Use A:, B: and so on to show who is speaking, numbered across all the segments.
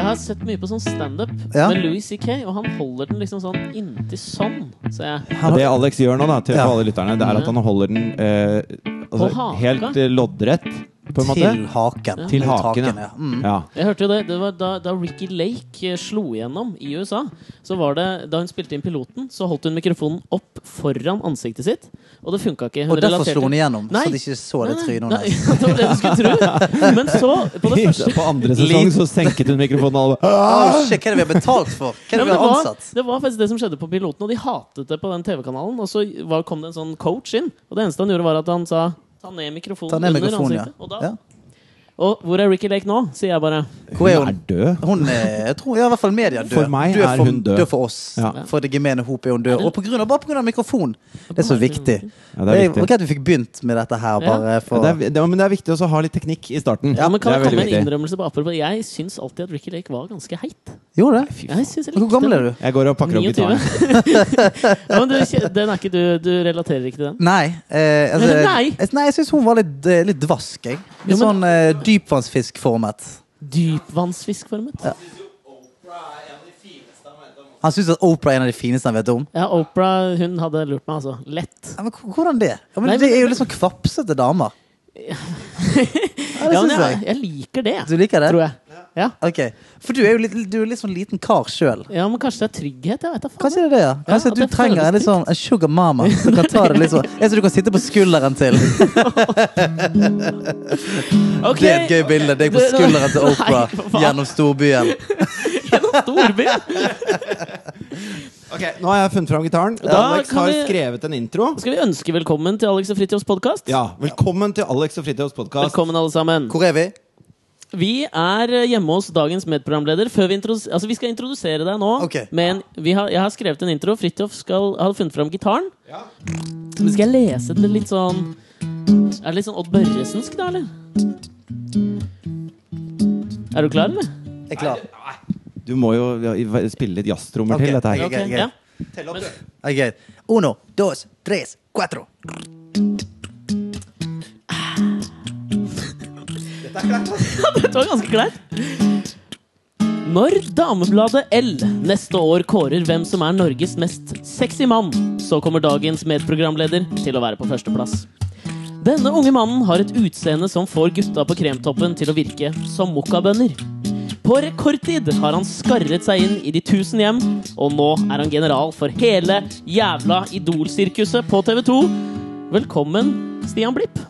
A: har sett mye på sånn standup
B: Ja.
A: med Louis C.K., og han holder den liksom sånn inntil sånn, ser jeg.
B: Han-
C: Det Alex gjør nå, da, til
B: Ja.
C: alle lytterne, det er at han holder den eh,
A: På
C: altså,
A: haka?
C: helt eh, loddrett, på en måte.
B: Til haken.
C: Til
B: Mot
C: haken,
B: ja. Mm.
C: Ja.
A: Jeg hørte jo det, det var da, da Ricky Lake eh, slo igjennom i USA, så var det da hun spilte inn piloten, så holdt hun mikrofonen opp foran ansiktet sitt, og det funka ikke. Hun
B: Og derfor
A: relaterte-
B: slo han igjennom,
A: Nei.
B: så de ikke så det
A: Nei,
B: trynet
A: nei,
B: hennes.
A: Det var det du skulle tro. Men så, på det første
C: På andre sesong Ah! så senket hun mikrofonen alle bare,
B: Åh, shit, hva er det vi har betalt for? Hva er
A: Ja,
B: det
A: men
B: vi
A: det,
B: har
A: var,
B: ansatt?
A: det var faktisk det som skjedde på piloten, og de hatet det på den TV-kanalen. Og så var, kom det en sånn coach inn, og det eneste han gjorde, var at han sa Ta ned mikrofonen
B: Ta ned
A: under
B: mikrofonen,
A: ansiktet. Og, da,
B: ja. ja.
A: og hvor er Ricky Lake nå? sier jeg bare.
B: Hvor er
C: Hun
B: hun?
C: er død.
B: Hun er, jeg tror, ja, i hvert fall media død.
C: For meg er hun død.
B: Død for oss.
C: Ja.
B: For det gemene hop er hun død. Og på grunn av, bare pga. mikrofon. Det er så viktig.
C: Ja, det er
B: Det er
C: viktig.
B: greit vi fikk begynt med dette her, bare
C: Ja,
B: for
C: Det er, det, men det er viktig også å ha litt teknikk i starten.
A: Ja, men kan jeg komme med
C: det er
A: en
C: veldig viktig.
A: innrømmelse på apropos? Jeg syns alltid at Ricky Lake var ganske heit.
B: Gjorde det?
A: Jeg synes jeg
B: Hvor
A: likte
B: gammel
A: den.
B: er du?
C: Jeg går og pakker opp
A: 29.
C: gitaren.
A: ja, men du, kje- den er ikke du, du relaterer ikke til den?
B: Nei. Eh, altså,
A: Nei.
B: Jeg, nei, jeg syns hun var litt, eh, litt dvask, jeg. Litt
A: Ja,
B: sånn eh, dypvannsfiskformet.
A: Dypvannsfiskformet. Ja.
B: Han syns at Opera er en av de fineste han vet om.
A: Oprah, hun hadde lurt meg, altså. Lett.
B: Ja, men h- hvordan det? Ja, men
A: Nei, men-
B: det er jo litt sånn kvapsete damer. Ja, det
A: Ja, men
B: syns
A: jeg,
B: jeg.
A: jeg liker det,
B: Du liker det?
A: tror jeg. Ja.
B: Ok. For du er jo litt, du er litt sånn liten kar sjøl.
A: ja, men kanskje det er trygghet? Jeg vet da faen.
B: Kanskje det er det, ja.
A: Ja,
B: Kanskje
A: at
B: du
A: det
B: trenger en,
A: føles
B: litt sånn, en sugar mama som kan ta det litt sånn En som du kan sitte på skulderen til.
A: Ok.
B: Det er et gøy bilde. Deg på
A: Det-
B: skulderen til
A: Nei,
B: Opera
A: for faen.
B: gjennom storbyen.
A: Gjennom storbyen.
C: Ok, Nå har jeg funnet fram gitaren.
A: Da
C: Alex
A: kan
C: har
A: vi-
C: skrevet en intro.
A: Skal vi ønske velkommen til Alex og Fritjofs podkast?
C: Ja, Velkommen til Alex og Fritjofs podkast.
A: Velkommen, alle sammen.
B: Hvor er vi?
A: Vi er eh, hjemme hos dagens medprogramleder. Før vi, introdus- altså, vi skal introdusere deg nå.
B: Ok.
A: Men vi har, jeg har skrevet en intro. Fridtjof skal ha funnet fram gitaren. Så skal jeg lese det litt sånn Er det litt sånn Odd Børresensk, da, eller? Er du klar, eller?
B: Jeg er klar.
C: Du må jo ja, spille litt jazztrommer
B: Ok,
C: til dette her.
B: ok. greit.
A: Ja.
B: Ok. Uno, dos, tres, cuatro.
A: Det var ganske kleint. Når Damebladet L neste år kårer hvem som er Norges mest sexy mann, så kommer dagens medprogramleder til å være på førsteplass. Denne unge mannen har et utseende som får gutta på kremtoppen til å virke som mokkabønner. På rekordtid har han skarret seg inn i de tusen hjem, og nå er han general for hele jævla Idol-sirkuset på TV 2. Velkommen, Stian Blipp.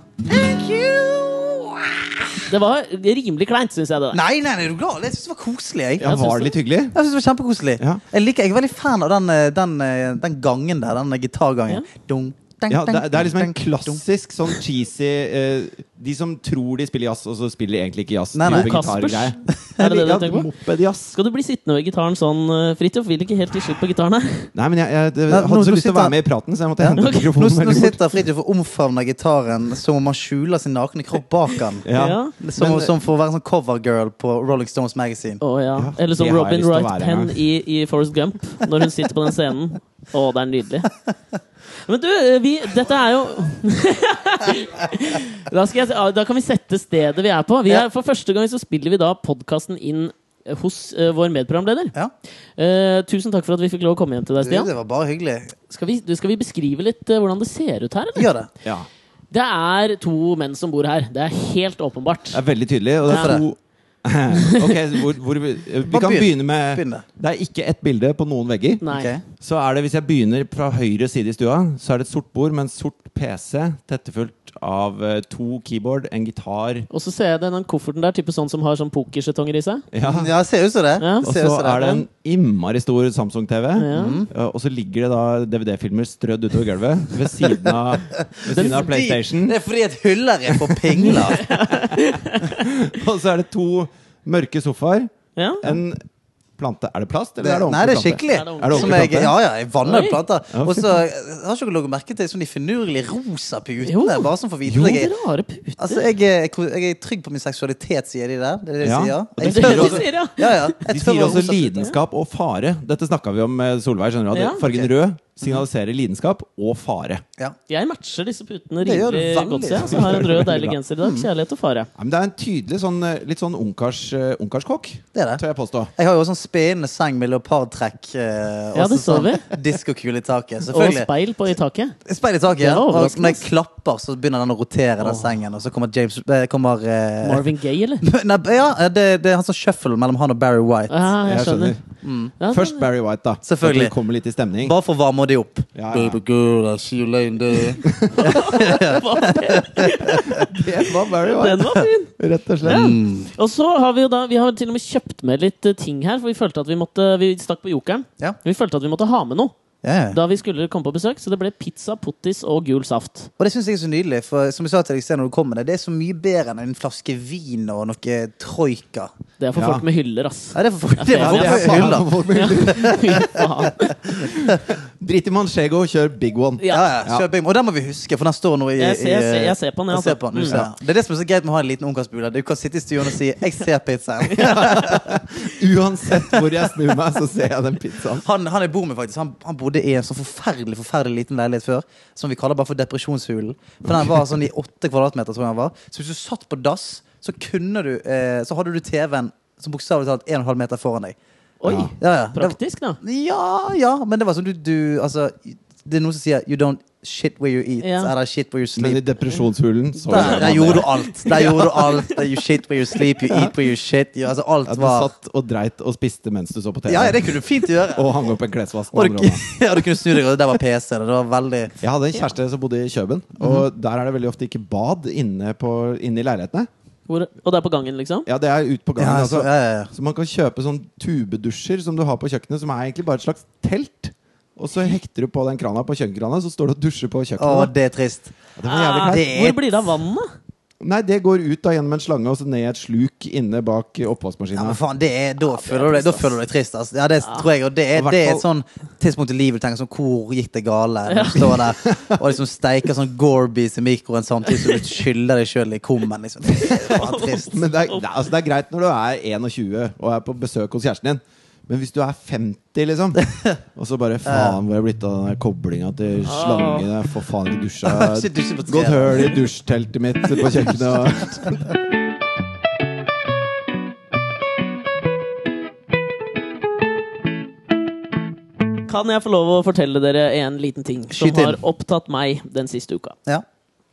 A: Det var rimelig kleint, syns jeg. det der.
B: Nei, nei, nei, er du glad? Jeg syns det var koselig. jeg
A: Jeg
C: Ja, Var
A: synes
C: det litt hyggelig?
B: Jeg synes det var kjempekoselig.
C: Ja.
B: Jeg, liker, jeg er veldig fan av den, eh, den, eh, den gangen der. Den gitargangen. Dung, dang,
C: Ja,
B: dang,
C: det, det er liksom en
B: dang, dung.
C: klassisk sånn cheesy eh, De som tror de spiller jazz, og så spiller de egentlig ikke jazz.
B: Nei, nei.
C: type
A: Kaspers.
C: gitargreie.
A: Er det det du
C: Ja,
A: tenker på?
C: mopedjazz.
A: Skal du bli sittende ved gitaren sånn, eh, Fridtjof? Vil ikke helt til slutt på gitaren her.
C: Nei, men jeg, jeg,
B: Nei, nå-
C: hadde
B: nå
C: så lyst til å
B: sitter-
C: være med i praten, så jeg måtte hente
A: ok.
B: Nå,
C: mikrofonen.
B: nå
C: veldig fort.
B: sitter Fridtjof og omfavner gitaren som om han skjuler sin nakne kropp bak han.
C: Ja.
A: Ja.
B: Som,
C: Men-
B: som for å være sånn covergirl på Rolling Stones Magazine.
A: Å, ja.
C: Ja,
A: Eller som
C: det har
A: Robin
C: jeg lyst til å
A: Wright
C: være
A: Penn
C: med.
A: i, i Forest Gump, når hun sitter på den scenen. Å, det er nydelig. Men du, eh, vi, dette er jo da, skal jeg, si- ah, da kan vi sette stedet vi er på. Vi
B: Ja.
A: er, for første gang så spiller vi da podkasten inn eh, hos eh, vår medprogramleder.
B: Ja.
A: Eh, tusen takk for at vi fikk lov å komme hjem til deg,
B: Du,
A: Stian.
B: Det var bare hyggelig.
A: Skal vi, du, skal vi beskrive litt eh, hvordan det ser ut her? Eller?
B: Gjør det.
C: Ja,
A: Det er to menn som bor her. Det er helt åpenbart.
C: det er veldig tydelig. Og det
B: Ja.
C: er to Ok, hvor, hvor vi, eh, vi
B: Bare
C: kan
B: begynn.
C: begynne med
B: Begynn.
C: Det er ikke ett bilde på noen vegger.
A: Nei.
B: Ok.
C: Så er det, Hvis jeg begynner fra høyre side i stua, så er det et sort bord med en sort PC tettefullt av eh, to keyboard, en gitar
A: Og så ser jeg den den kofferten der, type sånn som har sånn pokersjetonger i seg.
C: ja.
B: Ja, det ser ut som det.
A: Ja.
B: Det
C: Og
B: ser ut
C: så
B: som
C: er det en innmari stor Samsung-TV.
A: Ja.
C: eh, Og så ligger det da DVD-filmer strødd utover gulvet ved siden av, ved siden av
B: Fordi-
C: PlayStation.
B: Det er fordi et hyller er for pingler.
C: Og så er det to mørke sofaer.
A: Ja.
C: En plante Er det plast, eller
B: Det,
C: er det
B: nei, det er
C: ordentlig plante?
B: skikkelig.
A: Er det
C: ordentlig
B: Som jeg,
C: plante?
B: ja, ja, jeg vanner
A: Oi.
B: planter.
C: Ja,
B: Og så har ikke dere lagt merke til sånn de finurlige rosa
A: Jo.
B: putene? Bare sånn for å vite
A: Jo,
B: det.
A: det
B: Jeg,
A: rare puter.
B: altså, jeg, er- jeg er trygg på min seksualitet, sier de der. Det er det de
C: Ja.
B: sier.
C: Og
B: Jeg
C: de
B: tør
C: sier
B: å-
C: også-
A: sier, ja.
B: ja, ja. Jeg
C: De
B: tør
C: sier
B: å
C: også
B: rosa puter.
C: lidenskap og fare. Dette snakka vi om med eh, Solveig. skjønner du at
A: Ja.
C: Fargen
B: Ok.
C: rød signaliserer lidenskap og fare.
B: Ja.
A: Jeg matcher disse putene
B: Det gjør du
A: rimelig
B: veldig.
A: godt, ser jeg. Så jeg har en rød, deilig
C: Veldig bra.
A: genser i dag. Kjærlighet og fare.
C: Ja, men det er en tydelig sånn, eh, litt sånn ungkars, eh, ungkarskokk,
B: Det er det.
C: tør jeg påstå.
B: Jeg har jo også sånn spennende seng med leopardtrekk. Eh,
A: Ja,
B: også
A: det så
B: sånn Diskokule i taket.
A: Og
B: Selvfølgelig.
A: speil på i taket.
B: Speil i taket.
A: Det
B: Ja.
A: var
B: Og
A: overraskende.
B: når jeg klapper, så begynner den å rotere, den
A: Åh.
B: sengen. Og så kommer James eh, kommer, eh,
A: Marvin Gaye, eller?
B: Nei, ja, det, det er han som shuffle mellom han og Barry White.
A: Ja, jeg skjønner. Ja,
C: Først Barry White, da.
B: Selvfølgelig.
C: Så at vi kommer litt i stemning.
B: Bare for å varme de oopp.
C: Ja, ja.
B: girl, I see you laying there.
A: det var-
C: Det var Barry White.
A: Den var fin!
C: Rett og slett.
A: Ja. Og så har vi jo da Vi har til og med kjøpt med litt eh, ting her, for vi følte at vi måtte Vi stakk på jokeren.
B: Ja.
A: Vi følte at vi måtte ha med noe
B: Ja, ja.
A: da vi skulle komme på besøk, så det ble pizza, pottis og gul saft.
B: Og det syns jeg er så nydelig, for som jeg sa til deg i sted når du kom med det, det er så mye bedre enn en flaske vin og noe troika.
A: Det er for
C: Ja.
A: folk med hyller, ass.
B: Ja, det er for det er
A: Ja,
B: for
A: det er
B: folk med hyller.
A: Fy faen.
C: Drit i Manchego, kjør big one.
B: Ja,
A: Ja.
B: ja, kjøp inn. Og den må vi huske, for den står nå i
A: Jeg ser-
B: i-
A: jeg ser- jeg ser på den, ja,
B: Jeg ser
A: altså.
B: på den, du
A: Mm.
B: ser den. Det er det som er så greit med å ha en liten ungkarsbule. Du kan sitte i stuen og si 'jeg ser pizzaen'.
C: Uansett hvor jeg snur meg, så ser jeg den pizzaen.
B: Han, han jeg bor med, faktisk, han, han bodde i en så forferdelig forferdelig liten leilighet før, som vi kaller bare for depresjonshulen. For den var sånn i åtte kvadratmeter, tror jeg han var. Så hvis du satt på dass, så kunne du eh, Så hadde du TV-en som bokstavelig talt 1,5 meter foran deg.
A: Oi.
B: Ja, ja. Det-
A: Praktisk, da.
B: Ja, ja, men det var sånn du, du Altså, det er noen som sier 'you don't shit where you eat',
A: Ja.
B: eller 'shit where you
C: Men i
B: sleep'.
C: depresjonshulen så
B: Der, der
C: man
B: gjorde du
C: det.
B: alt. Der gjorde du alt. Der you shit where you sleep, you eat where you shit. You, altså, alt
C: At du
B: var
C: satt og dreit og spiste mens du så på TV.
B: Ja, ja, det kunne du fint gjøre.
C: Og hang opp en klesvask. med
B: Og
C: andre
B: du,
C: hånda.
B: ja, du kunne snu deg, og der var PC. Det var veldig
C: Jeg hadde en kjæreste som bodde i Kjøben, og der er det veldig ofte ikke bad inne, på, inne i leilighetene.
A: Hvor, og det er på gangen, liksom?
C: Ja, det er ut på gangen.
B: ja, så,
C: altså.
B: ja, ja, ja.
C: Så man kan kjøpe sånn tubedusjer som du har på kjøkkenet, som er egentlig bare et slags telt. Og så hekter du på den krana på kjøkkenkrana, så står du og dusjer på
B: Å,
C: kjøkkenet.
B: det er trist.
C: Det var jævlig
A: Ah,
C: kleint.
B: Det er-
A: Hvor blir det av vannet?
C: Nei, det går ut da gjennom en slange og så ned i et sluk inne bak eh,
B: Ja,
C: oppvaskmaskina.
B: men faen, det er, da, føler du deg, da føler du deg trist. Altså. Ja, det tror jeg, og det er,
C: Og
B: det er et
C: hvertfall-
B: sånn tidspunkt i livet du tenker sånn Hvor gikk det gale? Når du står der og liksom steiker sånn Gorbies i mikroen samtidig som du skyller deg sjøl i kummen. Liksom. Det er faen trist.
C: Men det er, det, er- altså, det er greit når du er 21 og er på besøk hos kjæresten din. Men hvis du er 50, liksom, og så bare faen hvor er det blitt av den koblinga til slangen? Jeg får faen ikke dusja.
B: Shit, dusjer på tre.
C: Gått høl i dusjteltet mitt på kjøkkenet. og-
A: Kan jeg få lov å fortelle dere en liten ting som
B: Skyt inn.
A: har opptatt meg den siste uka?
B: Ja.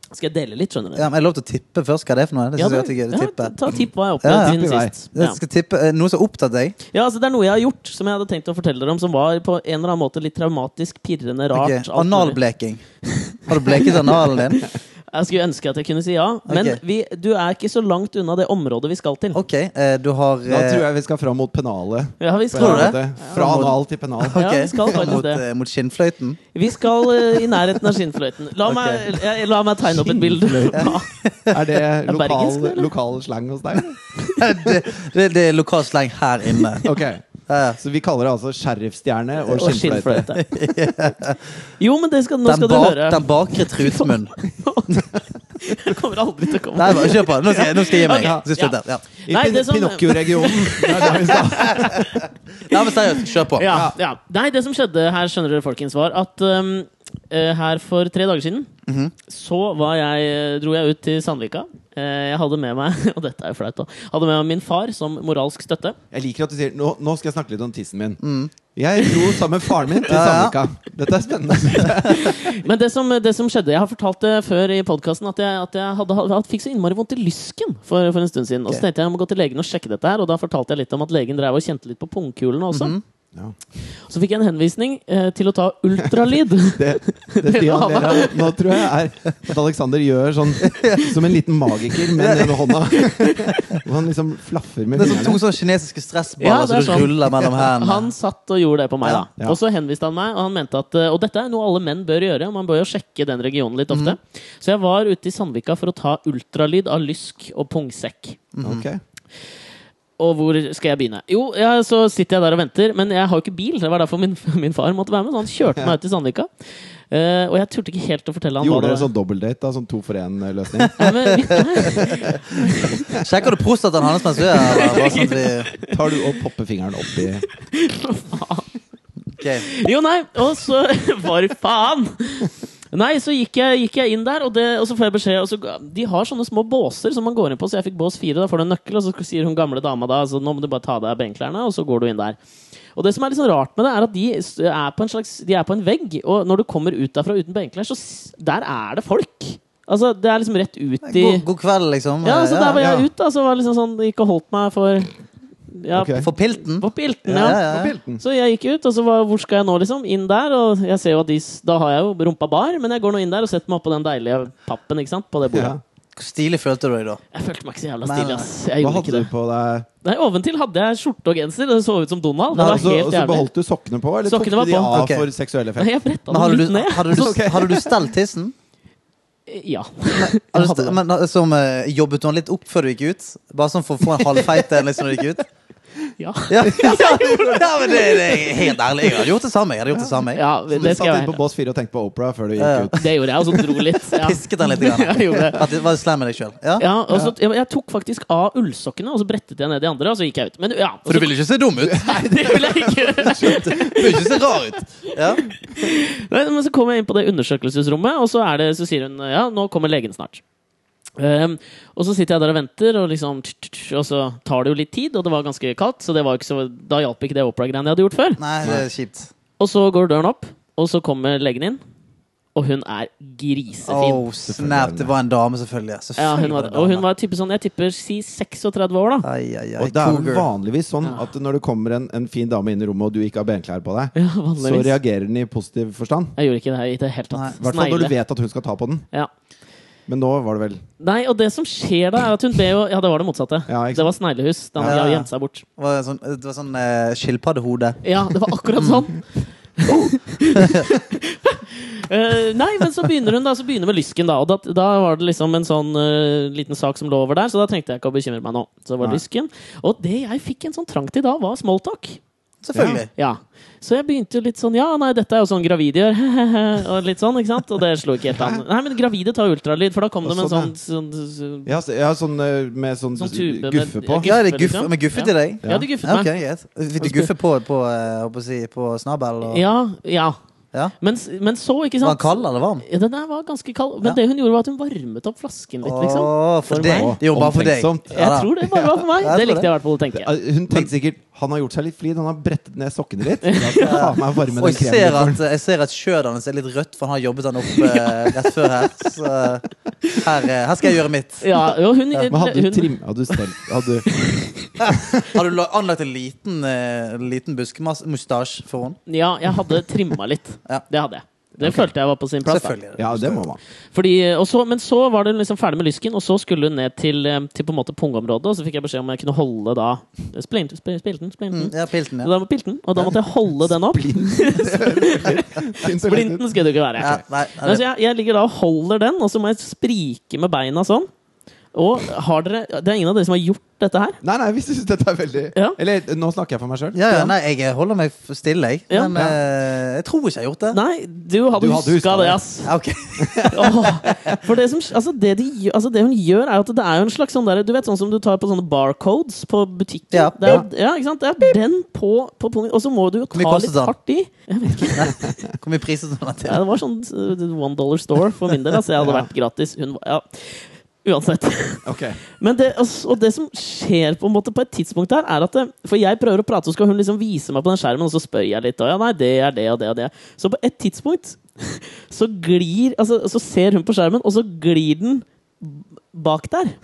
A: Skal jeg dele litt, skjønner dere?
B: Ja, men jeg lov til å tippe først hva det er for noe? Det synes
A: Ja,
B: jeg at jeg
A: ja,
B: gøy å tippe.
A: ta tipp hva jeg har
B: Ja, ja,
A: opplevd siden
C: tipp i vei.
A: sist. Ja.
B: Jeg skal tippe eh, noe som opptatt deg.
A: Ja, altså Det er noe jeg har gjort som jeg hadde tenkt å fortelle dere om, som var på en eller annen måte litt traumatisk, pirrende, rart.
B: Ok,
A: alt mulig.
B: Analbleking. Har du bleket analen din?
A: Jeg skulle ønske at jeg kunne si ja, men
B: Ok.
A: vi, du er ikke så langt unna det området vi skal til.
B: Ok, eh, du har
C: Da tror
B: eh,
C: jeg vi skal fram mot pennalet.
A: Ja, vi
C: På en
A: skal,
B: Tror du
C: eller
B: det?
C: annen måte. Fra anal til pennal.
A: Ja,
B: ok,
A: vi skal faktisk
B: mot,
A: det.
B: eh, mot skinnfløyten.
A: vi skal eh, i nærheten av skinnfløyten. La,
B: Ok.
A: meg, jeg, la meg tegne opp et bilde. Ja.
C: Er det
A: bergensk,
C: lokal,
A: eller?
C: lokal slang hos deg?
B: det, det, det er lokal sleng her inne.
C: Ok,
B: Eh,
C: Så vi kaller det altså sheriffstjerne og
A: Og
C: skinnfløyte.
A: skinnfløyte. Jo, men det skal, nå
B: den,
A: skal du
B: bak,
A: høre.
B: den bakre trutmunn.
A: Jeg kommer aldri til å komme
B: Nei, bare kjør på. Nå skal, jeg- nå skal jeg gi meg.
A: Ok,
B: Så
A: ja.
B: slutt der, ja.
C: I
A: Nei,
C: Pin-
A: det sånn- som-
C: Pinocchio-regionen. Det er der vi skal.
B: ja, men seriøst, kjør på.
A: Ja, ja. Nei, det som skjedde her, skjønner dere, folkens, var at um, eh, her for tre dager siden så var jeg, eh, dro jeg ut til Sandvika. Eh, jeg hadde med meg Og dette er jo flaut, da. Hadde med meg min far som moralsk støtte.
C: Jeg liker at du sier Nå, nå skal jeg snakke litt om tissen min.
A: Mm.
C: Jeg dro sammen med faren min til
B: Ja, ja.
C: Sandvika. Dette er spennende.
A: Men det som, det som skjedde Jeg har fortalt det før i podkasten at jeg, at jeg hadde, hadde, fikk så innmari vondt i lysken for, for en stund siden. Og så
B: Ok.
A: tenkte jeg jeg må gå til legen og sjekke dette her, og da fortalte jeg litt om at legen drev og kjente litt på pungkulene også.
C: Ja.
A: Så fikk jeg en henvisning eh, til å ta ultralyd.
C: Det, det Stian ler av nå, tror jeg, er at Alexander gjør sånn som en liten magiker med den ene hånda. Og han liksom flaffer med
B: Det er sånn to
C: fingrene.
B: sånne kinesiske
A: Ja,
B: stressballer
A: det er
B: som du
A: sånn.
B: ruller mellom
A: Han
B: hendene.
A: satt og gjorde det på meg, da.
C: eh, Ja.
A: Og så henviste han meg, og han mente at eh, Og dette er noe alle menn bør gjøre, man bør jo sjekke den regionen litt
C: Mm.
A: ofte. Så jeg var ute i Sandvika for å ta ultralyd av lysk og pungsekk.
C: Ok.
A: Og hvor skal jeg begynne? Jo, ja, så sitter jeg der og venter, men jeg har jo ikke bil. Det var derfor min, min far måtte være med, så han kjørte meg ut til Sandvika. Eh, og jeg turte ikke helt å fortelle han hva
C: Gjorde
A: det
C: dere
A: var.
C: sånn dobbeltdate? da, Sånn to for én-løsning?
A: Ja, men vi-
B: Sjekker du prostataen hans mens du er her? eller? Bare sånn at vi-
C: Tar du og popper fingeren oppi
B: Ok, ok.
A: Jo, nei, og så Hva faen? Nei, så gikk jeg, gikk jeg inn der, og, det, og så får jeg beskjed og så, ga- De har sånne små båser som man går inn på, så jeg fikk bås fire. Da får du en nøkkel, og så sier hun gamle dama da altså, nå må du bare ta av deg benklærne, og så går du inn der. Og det som er litt sånn rart med det, er at de s- er på en slags De er på en vegg, og når du kommer ut derfra uten benklær, så s- Der er det folk! Altså, det er liksom rett ut i
B: God, god kveld, liksom.
A: Ja, altså, der var
C: ja.
A: jeg ut, da, så var det liksom sånn Gikk og holdt meg for Ja,
C: Ok.
B: For pilten?
A: på pilten,
B: Ja, ja,
A: ja.
B: ja.
C: Og pilten.
A: Så jeg gikk ut, og så var, hvor skal jeg nå, liksom? Inn der, og jeg ser jo at de, s- da har jeg jo rumpa bar, men jeg går nå inn der og setter meg oppå den deilige pappen, ikke sant, på det
C: Ja.
A: bordet.
B: Hvor stilig følte du deg da?
A: Jeg følte meg ikke så jævla
B: Nei,
A: stilig,
B: nei.
A: ass. Jeg gjorde
C: Hva
A: ikke
C: hadde
A: det.
C: du på deg?
A: Nei, oventil hadde jeg skjorte og genser, det så ut som Donald.
C: Nei,
A: Det var
C: altså, og
A: helt
C: så
A: jævlig.
C: beholdt du sokkene på, eller
A: Sokkene
C: tok
A: var
C: du de
A: på.
C: av
B: Ok.
C: for seksuelle
A: Nei,
C: effekter?
A: jeg bretta
B: Men
A: den
B: hadde,
A: litt
B: du,
A: ned.
B: hadde, du,
C: Ok.
B: hadde du stelt tissen?
A: Ja.
B: Hadde du
A: hadde
B: stel- Altså, men, som, eh, jobbet du den litt opp før du gikk ut? Bare sånn for å få en halvfeit en liksom, når du gikk ut?
A: Ja,
B: Ja, ja, men det, det er helt ærlig. Jeg hadde gjort det samme. Jeg hadde gjort det samme. jeg.
A: ja
C: Så
A: det
C: du
A: skal
C: satt
A: jeg
C: inn på
A: være.
C: bås 4 og tenkte på Opera før du
B: Ja, ja.
C: gikk ut?
A: Det gjorde jeg, og så dro litt. Ja.
B: Pisket den litt. Grann.
A: Jeg gjorde det.
B: At det var slem med deg sjøl. Ja.
A: Ja, og så, jeg, jeg tok faktisk av ullsokkene, og så brettet jeg ned de andre, og så gikk jeg ut. Men ja, og så,
B: For du ville ikke se dum ut.
A: Nei, det ville jeg ikke gjøre.
B: Du ville ikke se rar ut. Ja.
A: Men, men så kommer jeg inn på det undersøkelsesrommet, og så, er det, så sier hun ja, nå kommer legen snart. Ehm, og så sitter jeg der og venter, og, liksom, tsk, tsk, tsk, og så tar det jo litt tid, og det var ganske kaldt, så, det var ikke så da hjalp ikke det opera-greiene jeg hadde gjort før.
B: Nei, det er kjipt.
A: Og så går døren opp, og så kommer legen inn, og hun er grisefin.
B: Oh, snap. Det var en dame, selvfølgelig.
A: ja,
B: Selvfølgelig
A: hun var,
B: det en
A: og hun
B: dame.
A: var type sånn, jeg tipper si 36 år, da.
B: Ai, ai, ai.
C: Og det er jo
B: Cougar.
C: vanligvis sånn at når det kommer en, en fin dame inn i rommet, og du ikke har benklær på deg,
A: Ja,
C: så
A: vanligvis.
C: reagerer den i positiv forstand.
A: Jeg gjorde ikke det her i det hele tatt.
C: I hvert fall når
A: Snegle.
C: du vet at hun skal ta på den.
A: Ja.
C: Men nå var det vel
A: Nei, og det som skjer da, er at hun ber jo Ja, det var det motsatte.
C: Ja, ikke sant?
A: det var sneglehus. Da
B: Ja,
A: ja,
B: ja, ja.
A: gjemte seg bort.
B: Det var sånn, det var sånn eh, skilpaddehode.
A: Ja, det var akkurat sånn. Eh, nei, men så begynner hun da, så begynner med lysken, da. Og da, da var det liksom en sånn eh, liten sak som lå over der, så da trengte jeg ikke å bekymre meg nå. Så det var
C: Nei.
A: lysken. Og det jeg fikk en sånn trang til da, var smalltalk.
B: Selvfølgelig.
A: Ja. Så jeg begynte jo litt sånn Ja, nei, dette er jo sånn gravide gjør. og litt sånn, ikke sant? Og det slo ikke helt an. Nei, men gravide tar ultralyd, for da kom
C: Og
A: det med en sånn,
C: sånn,
A: sånn, sånn
C: Ja, så, ja sånn eh, med sånn,
A: Sånn tube med-
C: guffe
A: ja,
C: på.
B: Ja, det er
A: Guffe,
B: guffe,
A: liksom.
B: men guffe
A: Ja.
B: til deg?
A: Ja, du guffet
B: Ja,
A: meg.
B: ok, greit. Fikk du guffe på, på, eh, håper å si, på snabel? Og...
A: Ja. ja.
B: Ja.
A: Men, s- men så, ikke
B: Var
A: sant
B: han kald eller varm?
A: Ja, den der var ganske kald. Men
B: Ja.
A: det hun gjorde, var at hun varmet opp flasken litt, liksom.
B: Åh,
A: For
B: for deg.
A: meg.
B: Det gjorde bare for deg.
C: Omtenksomt.
A: Jeg
B: da.
A: tror det bare var for meg.
B: Ja,
A: Det
B: jeg tror
A: likte
B: det.
A: jeg i hvert fall å tenke.
C: Ja, Hun tenkte sikkert Han har gjort seg litt flid, han har brettet ned sokkene litt. Da skal jeg faen meg varme
B: Og
C: den
B: jeg ser
C: kremen.
B: at, jeg ser at skjødet hans er litt rødt, for han har jobbet han opp eh, rett før her. Så her, eh, her skal jeg gjøre mitt.
A: Ja, jo, hun,
C: Men hadde du
A: hun,
C: trim... Hadde du stelt hadde du,
B: Har du la- anlagt en liten, eh, liten buskemustasje for henne?
A: ja, jeg hadde trimma litt.
B: Ja.
A: Det hadde jeg. Det følte jeg var på sin plass. Da.
B: Selvfølgelig.
C: Ja, det må man.
A: Fordi, og så, men så var det liksom ferdig med lysken, og så skulle hun ned til, eh, til på en måte pungområdet. Og så fikk jeg beskjed om jeg kunne holde da Splinten, splinten, splinten.
B: Mm, ja, pilten,
A: Og
B: ja.
A: da var pilten, og da måtte jeg holde den opp.
C: Splinten.
A: Splinten skulle det ikke være.
B: ja
A: Nei,
B: nei, nei,
A: så jeg, jeg ligger da og holder den, og så må jeg sprike med beina sånn. Og har dere Det er ingen av dere som har gjort dette her?
C: Nei, nei, hvis du syns dette er veldig
A: Ja.
C: Eller nå snakker jeg for meg sjøl.
B: ja, ja, nei, jeg holder meg f- stille, jeg.
A: Ja.
B: Men eh, jeg tror ikke jeg har gjort det.
A: Nei, du hadde,
C: Du
A: husket huska det,
C: hadde husket det.
A: ass.
B: Ja, ok.
A: Åh, for det, som, altså det, de, gjør- altså det hun gjør, er jo at det er jo en slags sånn der, Du vet sånn som du tar på sånne barcodes på butikken?
B: Ja.
A: Det er, ja, ikke sant? Det er den på, på pungen, og så må du jo
B: mye sånn.
A: ta
B: kostet
A: litt
B: den?
A: hardt i.
B: Hvor mye priset den til?
A: Ja, det var sånn uh, one dollar store for min del. Altså, jeg hadde vært gratis. Hun var Ja. Uansett. Men det, altså, og det som skjer på, en måte på et tidspunkt her, er at det, For jeg prøver å prate, så skal hun liksom vise meg på den skjermen, og så spør jeg litt. Og ja, nei, det er det og det og det. Så på et tidspunkt så glir Altså, så ser hun på skjermen, og så glir den bak der.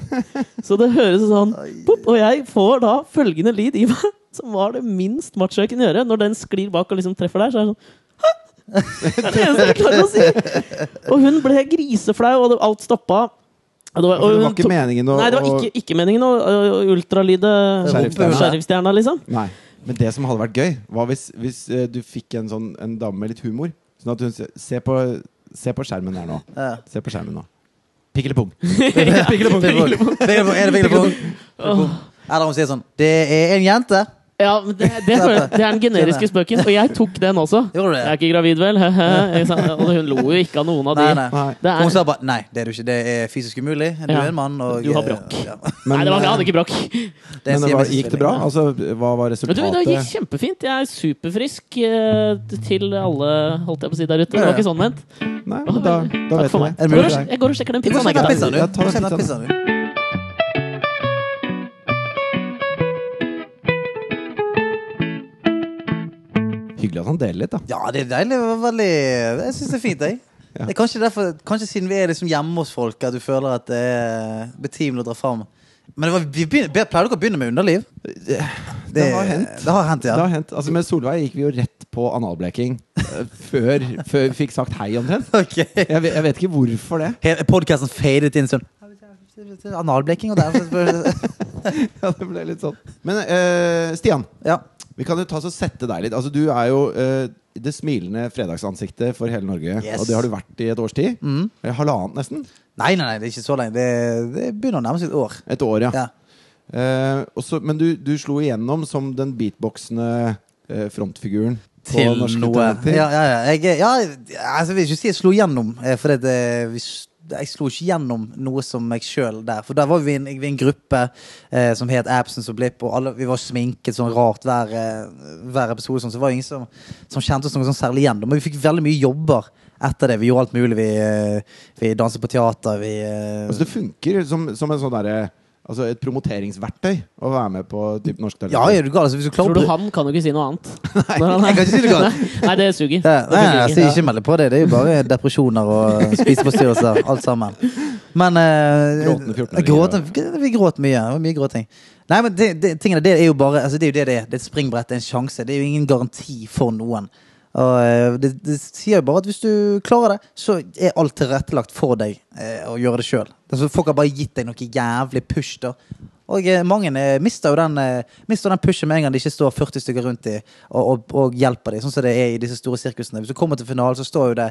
A: Så det høres sånn pop, Og jeg får da følgende lyd i meg, som var det minst macho jeg kunne gjøre. Når den sklir bak og liksom treffer der, så er det sånn «Hæ?» det eneste jeg klarer å si! Og hun ble griseflau, og det- alt stoppa. Og det var,
C: For
A: og
C: det var
A: hun
C: ikke
A: tok-
C: meningen å
A: Nei, det var
C: å-
A: ikke, ikke meningen å å- å ultralyde
C: Sheriffstjerna.
A: sheriffstjerna, liksom.
C: Nei. Men det som hadde vært gøy, var hvis, hvis eh, du fikk en sånn en dame med litt humor. Sånn at hun se, se, på, se på skjermen her nå.
B: Ja.
C: Se på skjermen nå. Pikkelepung.
B: Vingelepung. Vingelepung. Er det vingelepung?
A: Åh.
B: Eller hun sier sånn Det er en jente
A: Ja, men det, det, føler jeg- det er den generiske spøken, og jeg tok den også.
B: Gjorde du det?
A: Jeg er ikke gravid, vel? Ikke sant? Og hun lo jo ikke av noen av de.
B: Nei, nei.
C: Nei.
A: Det
B: Hun
A: er,
B: sa bare nei, det er du ikke. Det er fysisk umulig. Du
A: Ja.
B: er en mann. Og,
A: Du har
B: eh,
A: brakk.
B: ja.
A: nei, det var, jeg
C: eh,
A: hadde ikke brakk.
B: er en
C: men det var,
B: siamesisk
C: gikk det bra?
B: tvilling.
C: Altså, hva var
A: Men du,
C: resultatet?
A: det gikk kjempefint. Jeg er superfrisk eh, til alle holdt jeg på å si der ute. Det
B: Ja, ja.
A: var ikke sånn ment.
C: Nei, men da, da
A: Takk
C: vet
A: for
C: du
A: meg. Jeg
B: Er det
C: det.
A: går
B: mulig?
A: og sj- Jeg går og sjekker den
B: Du må
A: pizzaen. jeg, gutta.
B: sette pizzaen, du.
C: Ja,
B: Du
C: ta
B: må sette pizzaen,
C: pizzaen.
B: du.
C: Hyggelig at han deler litt, da.
B: Ja, det er deilig. Det var Veldig, jeg syns det er fint, jeg.
C: Ja.
B: Det er kanskje, derfor, kanskje siden vi er liksom hjemme hos folk, at du føler at det er betimelig å dra fram. Men det var, vi begynner, be- pleier dere å begynne med underliv?
C: Det, det har hendt.
B: Det har hendt, ja.
C: Det har hendt. Altså, med Solveig gikk vi jo rett på analbleking eh, før, før vi fikk sagt hei, omtrent.
B: Ok.
C: Jeg, vet- jeg vet ikke hvorfor det.
B: Hele Podcasten fadet inn sånn. Analbleking og der
C: Ja, det ble litt sånn. Men eh, Stian,
B: Ja.
C: vi kan jo ta oss og sette deg litt. Altså, du er jo eh, det smilende fredagsansiktet for hele Norge.
B: Yes. Mm.
C: Og det har du vært i et års tid. Eller halvannet, nesten.
B: Nei, nei, nei, det er ikke så lenge. Det, det begynner å nærme seg et år.
C: Et år, ja.
B: Ja.
C: Eh, og så- men du, du slo igjennom som den beatboxende eh, frontfiguren på
B: Til
C: norske
B: noe.
C: talenter.
B: Ja, ja, ja. Jeg, er- ja, altså, jeg vil ikke si jeg slo gjennom, eh, for det, det, vi s- jeg slo ikke gjennom noe som meg sjøl der. For der var vi i en, vi i en gruppe eh, som het Absence og Blipp, og alle, vi var sminket sånn rart hver, eh, hver episode. Sånn, så det var ingen som, som kjente oss noe sånn særlig igjen. Men vi fikk veldig mye jobber etter det. Vi gjorde alt mulig. Vi, eh, vi danset på teater, vi eh,
C: Altså, det funker som, som en sånn derre Altså et promoteringsverktøy å være med på typ, norsk talent.
B: Ja, er du gal? Altså, hvis du klarer
A: Tror
B: å
A: du
B: bli-
A: han kan jo ikke si noe annet? Nei,
B: jeg kan ikke si det godt.
A: Nei, det suger.
B: Ja,
A: Det
B: nei,
A: funker
B: jeg
A: ikke.
B: sier ikke melde på det. Det er jo bare depresjoner og spiseforstyrrelser, alt sammen. Men eh,
C: Gråtende 14-åringer.
B: gråten- Vi gråt mye. Det var mye gråting. Nei, men det, det, tingene, det er jo bare altså, Det er jo det det er. Det er et springbrett, det er en sjanse. Det er jo ingen garanti for noen. Og eh, det, det sier jo bare at hvis du klarer det, så er alt tilrettelagt for deg eh, å gjøre det sjøl. Altså, folk har bare gitt deg noe jævlig push, da. Og eh, mange eh, mister jo den, eh, mister den pushen med en gang det ikke står 40 stykker rundt dem og, og, og hjelper dem, sånn som det er i disse store sirkusene. Hvis du kommer til finalen, så står jo det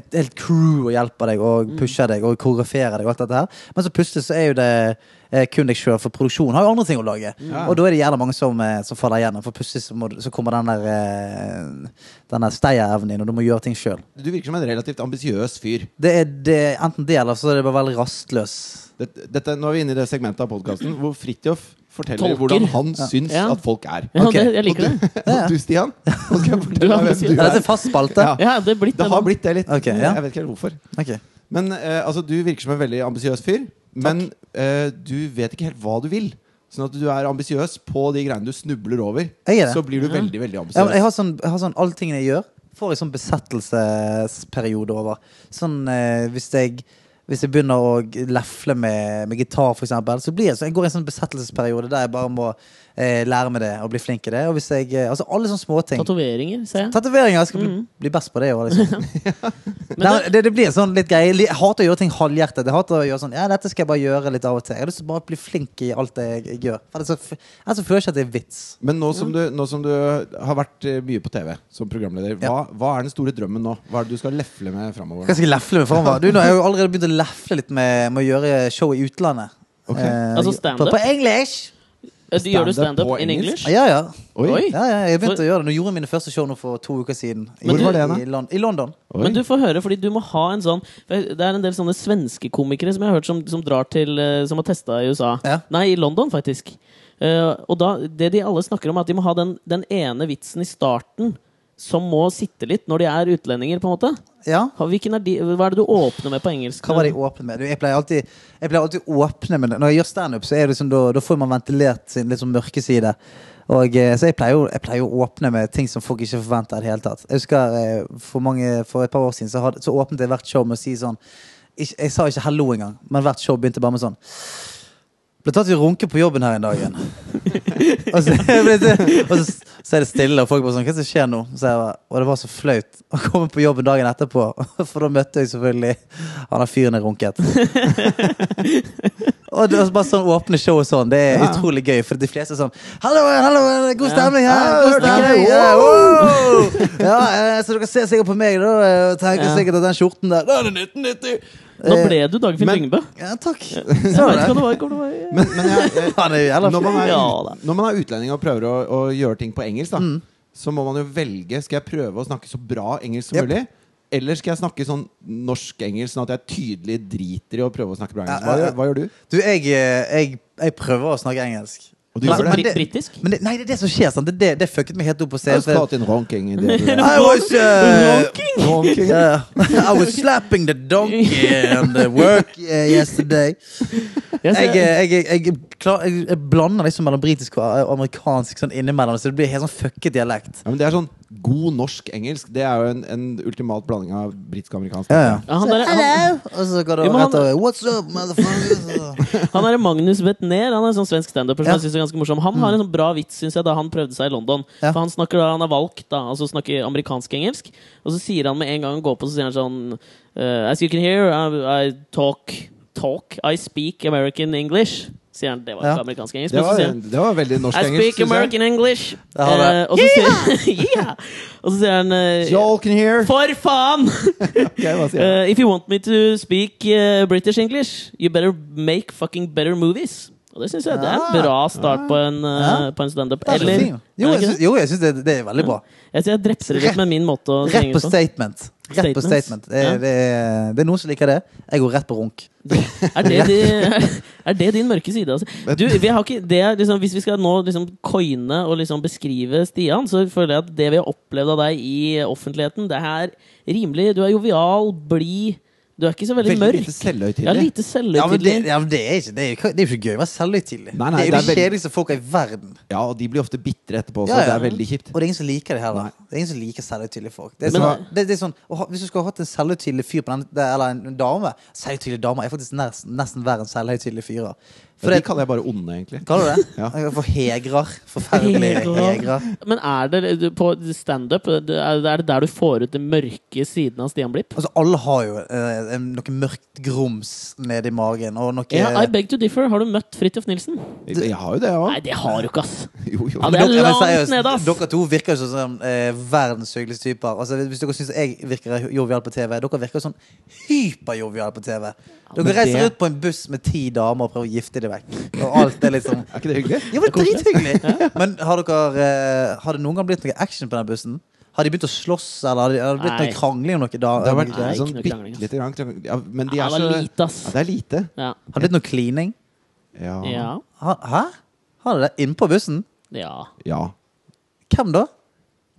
B: et helt crew og hjelper deg og pusher deg og koreograferer deg og alt dette her. Men så plutselig så er jo det eh, kun deg sjøl, for produksjonen har jo andre ting å lage.
C: Ja.
B: Og da er det gjerne mange som, eh, som faller igjennom, for plutselig så, må, du- så kommer den der, eh, den der stayerevnen din, og du må gjøre ting sjøl.
C: Du virker som en relativt ambisiøs fyr.
B: Det er det, enten det, eller så er det bare veldig rastløs.
C: Dette, dette, nå er vi inne i det segmentet av podkasten hvor Fridtjof forteller
A: Tolker.
C: hvordan han syns
A: Ja.
C: at folk er.
A: Ja,
B: Ok.
A: det, jeg liker det.
B: Ja.
C: Og du, Stian, nå skal jeg
A: Du
C: fortelle
A: er
C: deg hvem
B: Ja,
C: du
B: dette
C: er.
B: er fast spalte.
C: Ja.
A: Ja, det er blitt
C: Det har blitt det litt.
B: Ok, ja.
C: Jeg vet ikke helt hvorfor.
B: Ok.
C: Men eh, altså, du virker som en veldig ambisiøs fyr. Men eh, du vet ikke helt hva du vil. Sånn at du er ambisiøs på de greiene du snubler over.
B: Jeg er det.
C: Så blir du veldig, veldig
B: Ja, men
C: ambisiøs.
B: jeg har sånn, jeg har sånn alle tingene jeg gjør, får jeg sånn besettelsesperiode over. Sånn eh, hvis jeg hvis jeg begynner å lefle med, med gitar, for eksempel, så blir jeg, så jeg går i en sånn besettelsesperiode der jeg bare må eh, lære meg det og bli flink i det. Og hvis jeg, eh, altså Alle sånne småting.
A: tatoveringer, ser jeg.
B: Tatoveringer. Jeg skal bli, bli best på det òg, liksom.
A: Men
B: Nei, det, det blir en sånn litt greie. Jeg hater å gjøre ting halvhjertet. Jeg hater å gjøre sånn Ja, dette skal jeg bare gjøre litt av og til. Jeg har lyst til å bare bli flink i alt jeg, jeg gjør. For ellers så f- ellers så føler jeg ikke at det er vits.
C: Men nå
B: Mm.
C: som, du, nå som du har vært eh, mye på TV som programleder, hva, hva er den store drømmen nå? Hva er det du skal lefle med
B: Hva
C: framover?
B: skal jeg lefle med fremover? Du, nå har jeg jo allerede begynt å lefle litt med, med å gjøre show i utlandet.
C: Ok.
A: Altså
B: på,
A: stand-up?
B: på english!
A: Eh, Du gjør du
C: Stand-up
A: standup
C: på
A: in
C: engelsk?
A: English?
B: Ja, ja.
C: Oi.
A: Oi.
B: ja, ja jeg begynte
A: For-
B: å gjøre det. Nå gjorde jeg mine første show nå for to uker siden. I-
C: Hvor var det, da?
B: I, Lon I London.
C: Oi.
A: Men du får høre, fordi du må ha en sånn for Det er en del sånne svenske komikere som jeg har hørt som, som drar til eh, Som har testa i USA.
B: Ja.
A: Nei, i London, faktisk. Eh, og da, det de alle snakker om, er at de må ha den, den ene vitsen i starten som må sitte litt når de er utlendinger, på en måte.
B: Ja.
A: Ha- Hvilken er de, hva er det du åpner med på engelsk?
B: Hva var det jeg åpnet med? Du, jeg, pleier alltid, jeg pleier alltid å åpne med det. Når jeg gjør standup, så er det liksom, da, da får man ventilert sin litt sånn mørke side. Og, eh, så jeg pleier, jo- jeg pleier å åpne med ting som folk ikke forventer i det hele tatt. Jeg husker eh, For, mange, for et par år siden så, hadde, så åpnet jeg hvert show med å si sånn ikke, Jeg sa ikke hello engang, men hvert show begynte bare med sånn Ble tatt i runke på jobben her en dag igjen. og, så, ble det, og så, så er det stille, og folk bare sånn Hva er det som skjer nå? Så jeg bare, og det var så flaut å komme på jobben dagen etterpå, for da møtte jeg selvfølgelig han der fyren jeg runket. Og det er bare sånn åpne show og sånn. Det er utrolig gøy. For de fleste er sånn Hallo, hallo, god stemning her!
C: Ja,
B: God
C: hørte dere?
B: stemning! Ja, wow!» ja, eh, så dere ser sikkert på meg da, eh, og tenker
A: Ja.
B: sikkert at den skjorten der Den er 1990!
A: Nå ble du Dagfinn
C: Eh, men-
A: Lyngbø.
B: Ja, takk.
A: Jeg vet ikke hva det var. Hvor det var.
C: Men, men jeg, jeg,
B: Han er jo jævla
C: når, man er,
A: Ja, da.
C: når man er utlending og prøver å, å gjøre ting på engelsk, da, så må man jo velge Skal jeg prøve å snakke så bra engelsk som
B: Yep.
C: mulig. Eller skal jeg snakke sånn norsk-engelsk, sånn at jeg tydelig driter i å prøve å snakke bra engelsk?
B: Ja, ja,
C: Hva,
B: ja.
C: gjør- hva gjør du?
B: Du, jeg, eh, jeg, jeg prøver å snakke engelsk.
C: Og du
A: Altså,
C: gjør det?
A: bri- brittisk?
B: Men det, nei, det er det som skjer. Sant? Det, det, det fucket meg helt opp på
C: Jeg
B: scenen.
C: skal
B: for-
C: ta til en ronking i det du gjør.
B: I was, uh,
A: Ronking?
C: Ronking.
B: Yeah. I was slapping the donkey and the work uh, yesterday.
A: Jeg
B: Jeg, uh,
A: ser-
B: jeg, jeg, jeg, klar, jeg, jeg blander liksom mellom britisk og amerikansk sånn innimellom, så det blir helt sånn fucket dialekt.
C: Ja, men det er sånn god norsk-engelsk. Det er jo en, en ultimat blanding av britisk og amerikansk.
B: Ja, ja.
A: Ja, han der- han-
B: Hello! Og så går det
A: Ja, men han-
B: rett over. What's up, motherfuckers?
A: Han er Magnus Wetner, han er en sånn svensk standuper som
B: Ja.
A: jeg synes er ganske morsom. Han har en sånn bra vits, synes jeg, da han prøvde seg i London.
B: Ja.
A: For han snakker da, han er valgt, da, altså snakker amerikansk-engelsk. Og så sier han med en gang han går på, så sier han sånn eh, As you can hear, I, I talk, talk, I speak American English. Sier han, det var
B: Ja.
A: ikke amerikansk-engelsk.
C: Det
A: Men så
C: var,
A: sier han
C: det var veldig
A: I
C: norsk-engelsk.
A: speak
C: synes jeg.
A: American English.
B: Det har det.
A: Eh, og, så sier, yeah. og så sier han eh,
C: Y'all can hear.
A: For faen!
C: Ok, hva sier jeg?
A: Eh, if you want me to speak eh, British English, you better make fucking better movies. Og det synes jeg det er en
B: Ja.
A: bra start på en, eh, på en standup.
B: Ah. Det er så
A: Eller
B: fint. Jo,
A: Er det
B: jeg
A: ikke
B: syns, jo, jeg syns det, det er veldig bra.
A: det? Jeg, jeg drepser det litt med min måte å
B: Rett
A: synge
B: på
A: på.
B: statement. Rett på
A: sånn. Statements.
B: statement. Det,
A: Ja.
B: er- det, er- det er noen som liker det. Jeg går rett på runk.
A: Er det, de, er det din mørke side? Altså? Du, vi har ikke, det er liksom, hvis vi skal nå liksom coine og liksom beskrive Stian, så føler jeg at det vi har opplevd av deg i offentligheten, det er rimelig Du er jovial, blid. Du er ikke så veldig,
C: Veldig
A: mørk.
C: lite selvhøytidelig.
A: Ja, lite
B: Ja, men det,
A: selvhøytidelig.
B: ja, men det er ikke det er, jo ikke- det er jo ikke gøy å være selvhøytidelig.
C: Nei,
B: Det
C: nei,
B: er jo
C: det
B: de
C: er veldig-
B: kjedeligste folka i verden.
C: Ja, og de blir ofte bitre etterpå også.
B: Ja, ja.
C: Det er veldig kjipt.
B: Og det er ingen som liker det heller.
C: Nei.
B: Det er ingen som liker selvhøytidelige folk. Det er
A: Men-
B: sånn, det, det er sånn å ha, Hvis du skulle ha hatt en selvhøytidelig fyr på den, det- eller en, en dame Selvhøytidelige damer er faktisk nesten, nesten verre enn selvhøytidelige fyrer. For
C: Ja, de
B: det,
C: kaller jeg bare onde, egentlig.
B: kaller du det?
C: Ja.
B: Jeg får hegrer. Forferdelige
A: Hegrer.
B: hegrer.
A: Men er det du, på standup er er det der du får ut den mørke siden av Stian Blipp?
B: Altså, alle har jo eh, en- noe mørkt grums nedi magen, og noe
A: Ja, I beg to differ. Har du møtt Fridtjof Nilsen?
C: Jeg jeg har jo det, jeg
A: Nei,
C: òg.
A: det har du ikke, ass!
C: Jo, jo.
A: Ja, det er
B: Dere- men
A: langt
B: seriøst,
A: ned, ass.
B: Dere to virker jo som eh, verdens hyggeligste typer. Altså, hvis dere syns jeg virker jovial på TV, dere virker jo sånn hyperjovial på TV. Dere
C: men
B: reiser
C: det-
B: rundt på en buss med ti damer og prøver å gifte dem vekk. Og alt er liksom
C: Er ikke det hyggelig?
B: Jo, men drithyggelig! Men har dere eh, Har det noen gang blitt noe action på den bussen? Har de begynt å slåss, eller har det- har det blitt
A: Nei.
B: noe krangling om noe da?
C: Det har vært
A: Nei,
C: sånn
A: ikke noe
C: bitte
A: krangling, ass.
C: lite grann krangling. ja, Men de
A: Ja,
C: er
A: det
C: så
A: var lite, ass.
C: Ja, det er lite.
A: Ja.
B: Har det blitt noe klining?
C: Ja.
A: Ja.
B: Ha- Hæ? Har det det? Innpå bussen?
A: ja.
C: ja.
B: Hvem da?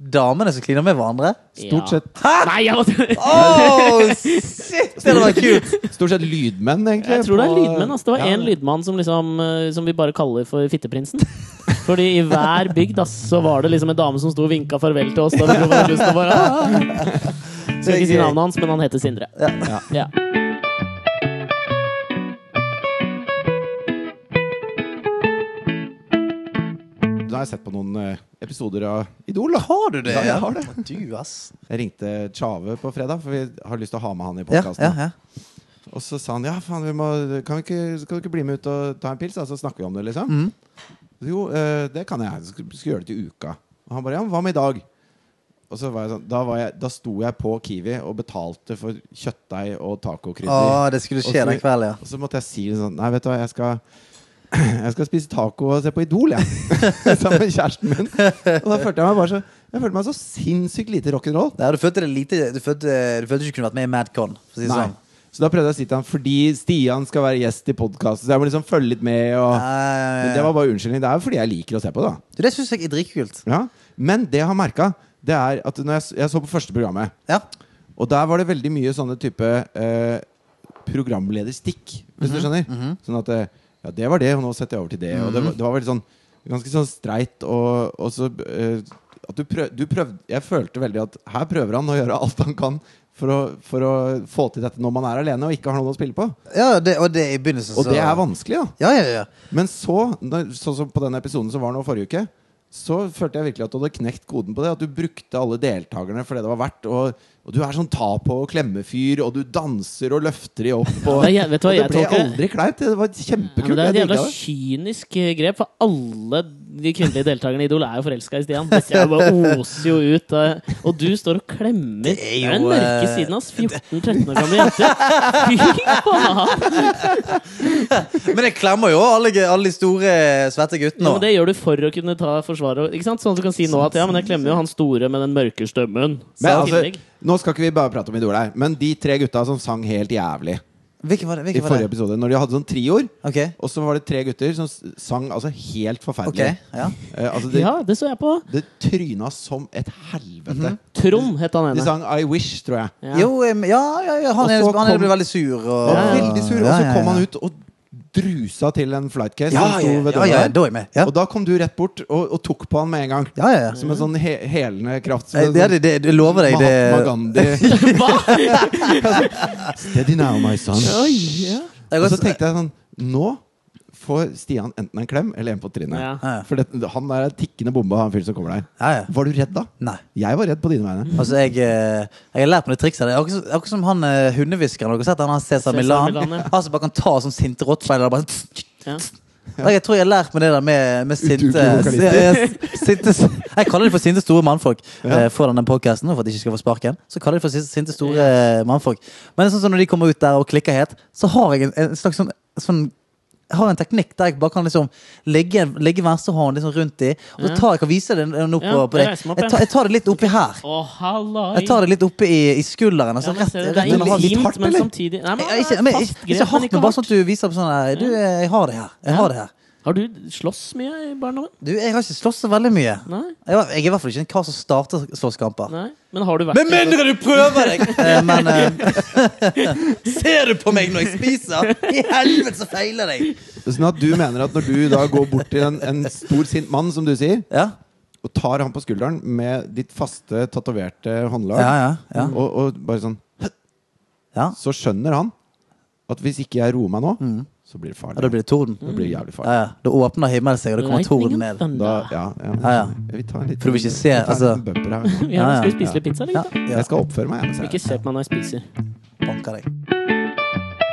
B: Damene som kliner med hverandre?
C: Stort sett
B: Hæ?!
A: Nei, jeg, jeg
B: Oh, shit! Det hadde vært kult!
C: Stort sett lydmenn, egentlig.
A: tror det er
C: på-
A: lydmenn. ass. Det var
C: Ja.
A: én lydmann som, liksom, eh, som vi bare kaller for Fitteprinsen. Fordi i hver bygd ass, så var det liksom en dame som sto og vinka farvel til oss. Da vi dro på den bussen og bare, ah. Skal ikke si navnet hans, men han heter Sindre.
C: Ja.
A: Ja.
C: Nå har jeg sett på noen eh, episoder av Idol, da.
B: Har du det?
C: Ja, jeg har det.
B: Du, ass.
C: Jeg ringte Tjave på fredag, for vi har lyst til å ha med han i
B: Ja,
C: podkasten.
B: ja, ja.
C: Og så sa han ja, faen, vi må, kan, vi ikke, kan du ikke bli med ut og ta en pils, da? Så snakker vi om det, liksom.
B: Mm.
C: Jo, eh, det kan jeg. Skal, skal gjøre det til uka. Og han bare ja, men hva med i dag? Og så var jeg sånn, da, var jeg, da sto jeg på Kiwi og betalte for kjøttdeig og
B: Å,
C: tacokrydder.
B: det skulle
C: Og så-
B: skje den kvelden, ja.
C: Og så måtte jeg si det sånn Nei, vet du hva, jeg skal jeg skal spise taco og se på Idol, jeg. Sammen med kjæresten min. Og da følte jeg meg bare så Jeg følte meg så sinnssykt lite rock'n'roll.
B: Nei, du følte det lite Du følte, du følte ikke du kunne vært med i Madcon. For å si det
C: Nei.
B: sånn.
C: Så da prøvde jeg å si til han fordi Stian skal være gjest i podkasten, så jeg må liksom følge litt med. Og... Men det
B: Nei,
C: var bare unnskyldning. Det er jo fordi jeg liker å se på det. da
B: Eh, Du, det syns jeg er dritkult.
C: ja. Men det jeg har merka, det er at når jeg, s- jeg så på første programmet,
B: Ja.
C: og der var det veldig mye sånne type eh, programlederstikk, hvis du skjønner. Sånn at eh, Ja, det var det, og nå setter jeg over til det. Og det var, det var veldig sånn ganske sånn streit og, og så eh, at du, prøv, du prøvde Jeg følte veldig at her prøver han å gjøre alt han kan for å, for å få til dette når man er alene og ikke har noen å spille på.
B: ja det, og det er i begynnelsen,
C: Og det er vanskelig, da.
B: Ja, ja, ja.
C: Men så, når- sånn som på den episoden som var nå forrige uke, så følte jeg virkelig at du hadde knekt koden på det. At du brukte alle deltakerne for det det var verdt. Og, Og du er sånn ta på og klemme-fyr, og du danser og løfter de opp. Og,
A: det er jæv- vet du hva
C: og
A: jeg
C: det ble
A: tolker
C: aldri kleint. Det var
A: Ja, men
C: kjempekult.
A: det er et
C: jeg
A: jævla
C: digget det.
A: kynisk eh, grep, for alle de kvinnelige deltakerne i Idol er jo forelska i Stian. Det ser jeg bare oser jo ut. eh, Og du står og klemmer. Det
B: er
A: er
B: jo,
A: den mørke
B: eh,
A: siden hans. 14-13 år gamle jenter. Fy faen!
B: Men jeg klemmer jo alle, alle de store, svette
A: Ja,
B: guttene.
A: men det gjør du for å kunne ta forsvaret. Ikke sant? Sånn at du kan si nå at ja, men jeg klemmer jo han store med den mørke stemmen.
C: Men
A: Sa
C: altså,
A: Kinnig.
C: nå skal ikke vi bare prate om Idol her, men de tre gutta som sang helt jævlig
B: Hvilken var det?
C: i
B: Hvilken var
C: forrige
B: det?
C: episode, når de hadde sånn trioer,
B: Ok,
C: og så var det tre gutter som s- sang altså helt
B: ok,
C: forferdelig.
B: ja.
C: Eh, altså det,
A: ja, det så jeg på.
C: det tryna som et helvete.
A: Mhm. Trond het han
C: De
A: ene.
C: sang I Wish, tror jeg.
A: Ja.
B: Jo, em, ja, ja, ja han,
C: Og
B: er,
C: så
B: han er
C: kom-
B: ble veldig sur. Og,
C: Og Veldig sur. Og
B: Ja,
C: så
B: ja,
C: kom
B: ja.
C: han ut og drusa til en flightcase.
B: Ja,
C: som sto
B: ja,
C: ved
B: ja,
C: døra
B: ja,
C: der.
B: da er jeg med. Ja,
C: Og da kom du rett bort og, og tok på han med en gang.
B: ja, ja. ja.
C: Som en sånn he helende kraft. Som
B: Nei,
C: en
B: Det,
C: sånn
B: er det, det, jeg lover deg.
C: Mahatma
B: Det,
C: Gandhi.
A: Hva?
C: Steady now, my son.
A: Oi, ja.
B: Jeg
C: Og
B: kan-
C: så tenkte jeg sånn Nå får Stian enten en klem eller en på trynet.
A: Ja.
B: Ja.
C: For det, han der er tikkende bombe, han fyren som kommer der.
B: ja, ja.
C: Var du redd da?
B: Nei.
C: Jeg var redd på dine vegne.
B: Altså, jeg, eh, jeg har lært meg det trikset. der. Det er Akkurat, som- akkurat som han eh, hundehviskeren. Har dere sett han, han Cæsar
A: Cæsar
B: Milan?
A: Milan, ja.
B: Han som bare kan ta sånn sinte rottweiler og bare
A: Ja.
B: Og Jeg tror jeg har lært meg det der med, med sinte,
C: Udugelige vokalister.
B: Ja, ja, sinte Jeg kaller det for sinte store mannfolk eh, foran den podkasten. For at de ikke skal få sparken. Så kaller jeg det for sinte, sinte store eh, mannfolk. Men det er sånn som når de kommer ut der og klikker het, så har jeg en, en slags sånn, sånn jeg har en teknikk der jeg bare kan liksom legge, legge venstrehånden liksom rundt i, og så
A: Ja.
B: tar jeg kan vise den den opp
A: Ja,
B: på, på deg.
A: jeg reiser meg opp,
B: Jeg
A: ja.
B: tar, jeg tar det litt oppi her.
A: Å, halloi.
B: Jeg tar det litt oppe i, i
A: Ja,
B: skulderen. Altså,
A: men
B: rett,
A: ser du, det
B: rett
A: er
B: under halsen.
C: litt litt
A: intimt,
C: hardt,
A: men
C: eller?
A: samtidig Nei, men
B: Nei, ikke, men,
A: fast
B: ikke,
A: grep,
B: ikke så
A: men
B: hardt,
A: ikke
B: men bare sånn at du viser på sånn her, Du, eh, jeg har det her. Jeg har det her.
A: Har du slåss mye i barndommen?
B: Du, jeg har ikke slåss så veldig mye.
A: Nei?
B: Jeg, var, jeg er i hvert fall ikke en kar som starter slåsskamper.
A: Nei? Men har du vært
B: Med mindre du prøver deg! Eh, Men eh, Ser du på meg når jeg spiser? I helvete, så feiler jeg!
C: Sånn at du mener at når du da går bort til en, en stor, sint mann, som du sier,
B: Ja,
C: og tar han på skulderen med ditt faste, tatoverte håndlag,
B: ja, ja. ja.
C: Og, og bare sånn
B: ja. Mm.
C: Så skjønner han at hvis ikke jeg roer meg nå, så blir det farlig.
B: ja da blir det torden.
A: Mm.
C: det blir jævlig
B: Ja,
C: farlig.
B: ja. Da åpner himmelen seg, og det kommer torden ned.
C: Da, ja, ja.
B: Ja, ja.
C: Vi tar en liten,
B: For du vil ikke se,
C: vi tar en
B: altså-
C: liten bumper
A: Ja,
C: her.
B: Ja, ja.
A: skal vi spise litt pizza, eller?
B: Ja,
A: gutta?
B: ja.
C: Jeg skal oppføre meg. Jeg,
A: Ikke se på meg når jeg spiser.
B: Banker deg.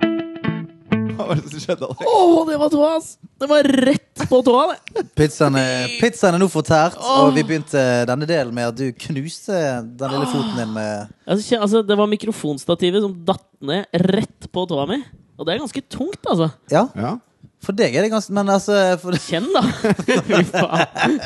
C: Hva var det som skjedde? Alex?
A: Å, det var tåa, ass! Det var rett på tåa, det!
B: Pizzaen er, pizzaen er nå fortært, og vi begynte denne delen med at du knuste den lille foten din med
A: Altså, kje- altså, det var mikrofonstativet som datt ned rett på tåa mi. Og det er ganske tungt, altså.
B: Ja,
C: Ja.
B: for deg er det ganske Men altså for,
A: Kjenn, da! Fy faen.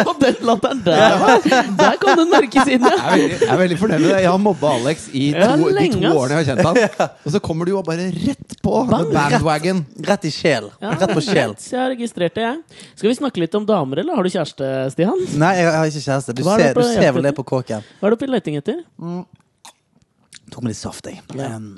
A: Og den latteren der, da! Der kom den mørke siden, ja!
C: Jeg, er veldig, jeg er veldig fornøyd med det. Jeg har mobba Alex i to,
A: Ja,
C: de
A: lenge,
C: to
A: ass.
C: årene jeg har kjent han. Og så kommer du jo bare rett på.
A: Bang,
C: the bandwagon.
B: Rett i sjel.
A: Ja,
B: Rett på sjel.
A: rett, Jeg har registrert det, jeg. Skal vi snakke litt om damer, eller har du kjæreste, Stian?
B: Nei, jeg har ikke kjæreste. Du
A: Hva er det
B: ser, du
A: på
B: ser vel
A: hjertet?
B: det på kåken.
A: Hva er du oppe i leting etter?
B: Tok med litt saft, jeg.
A: Ja.
B: Um,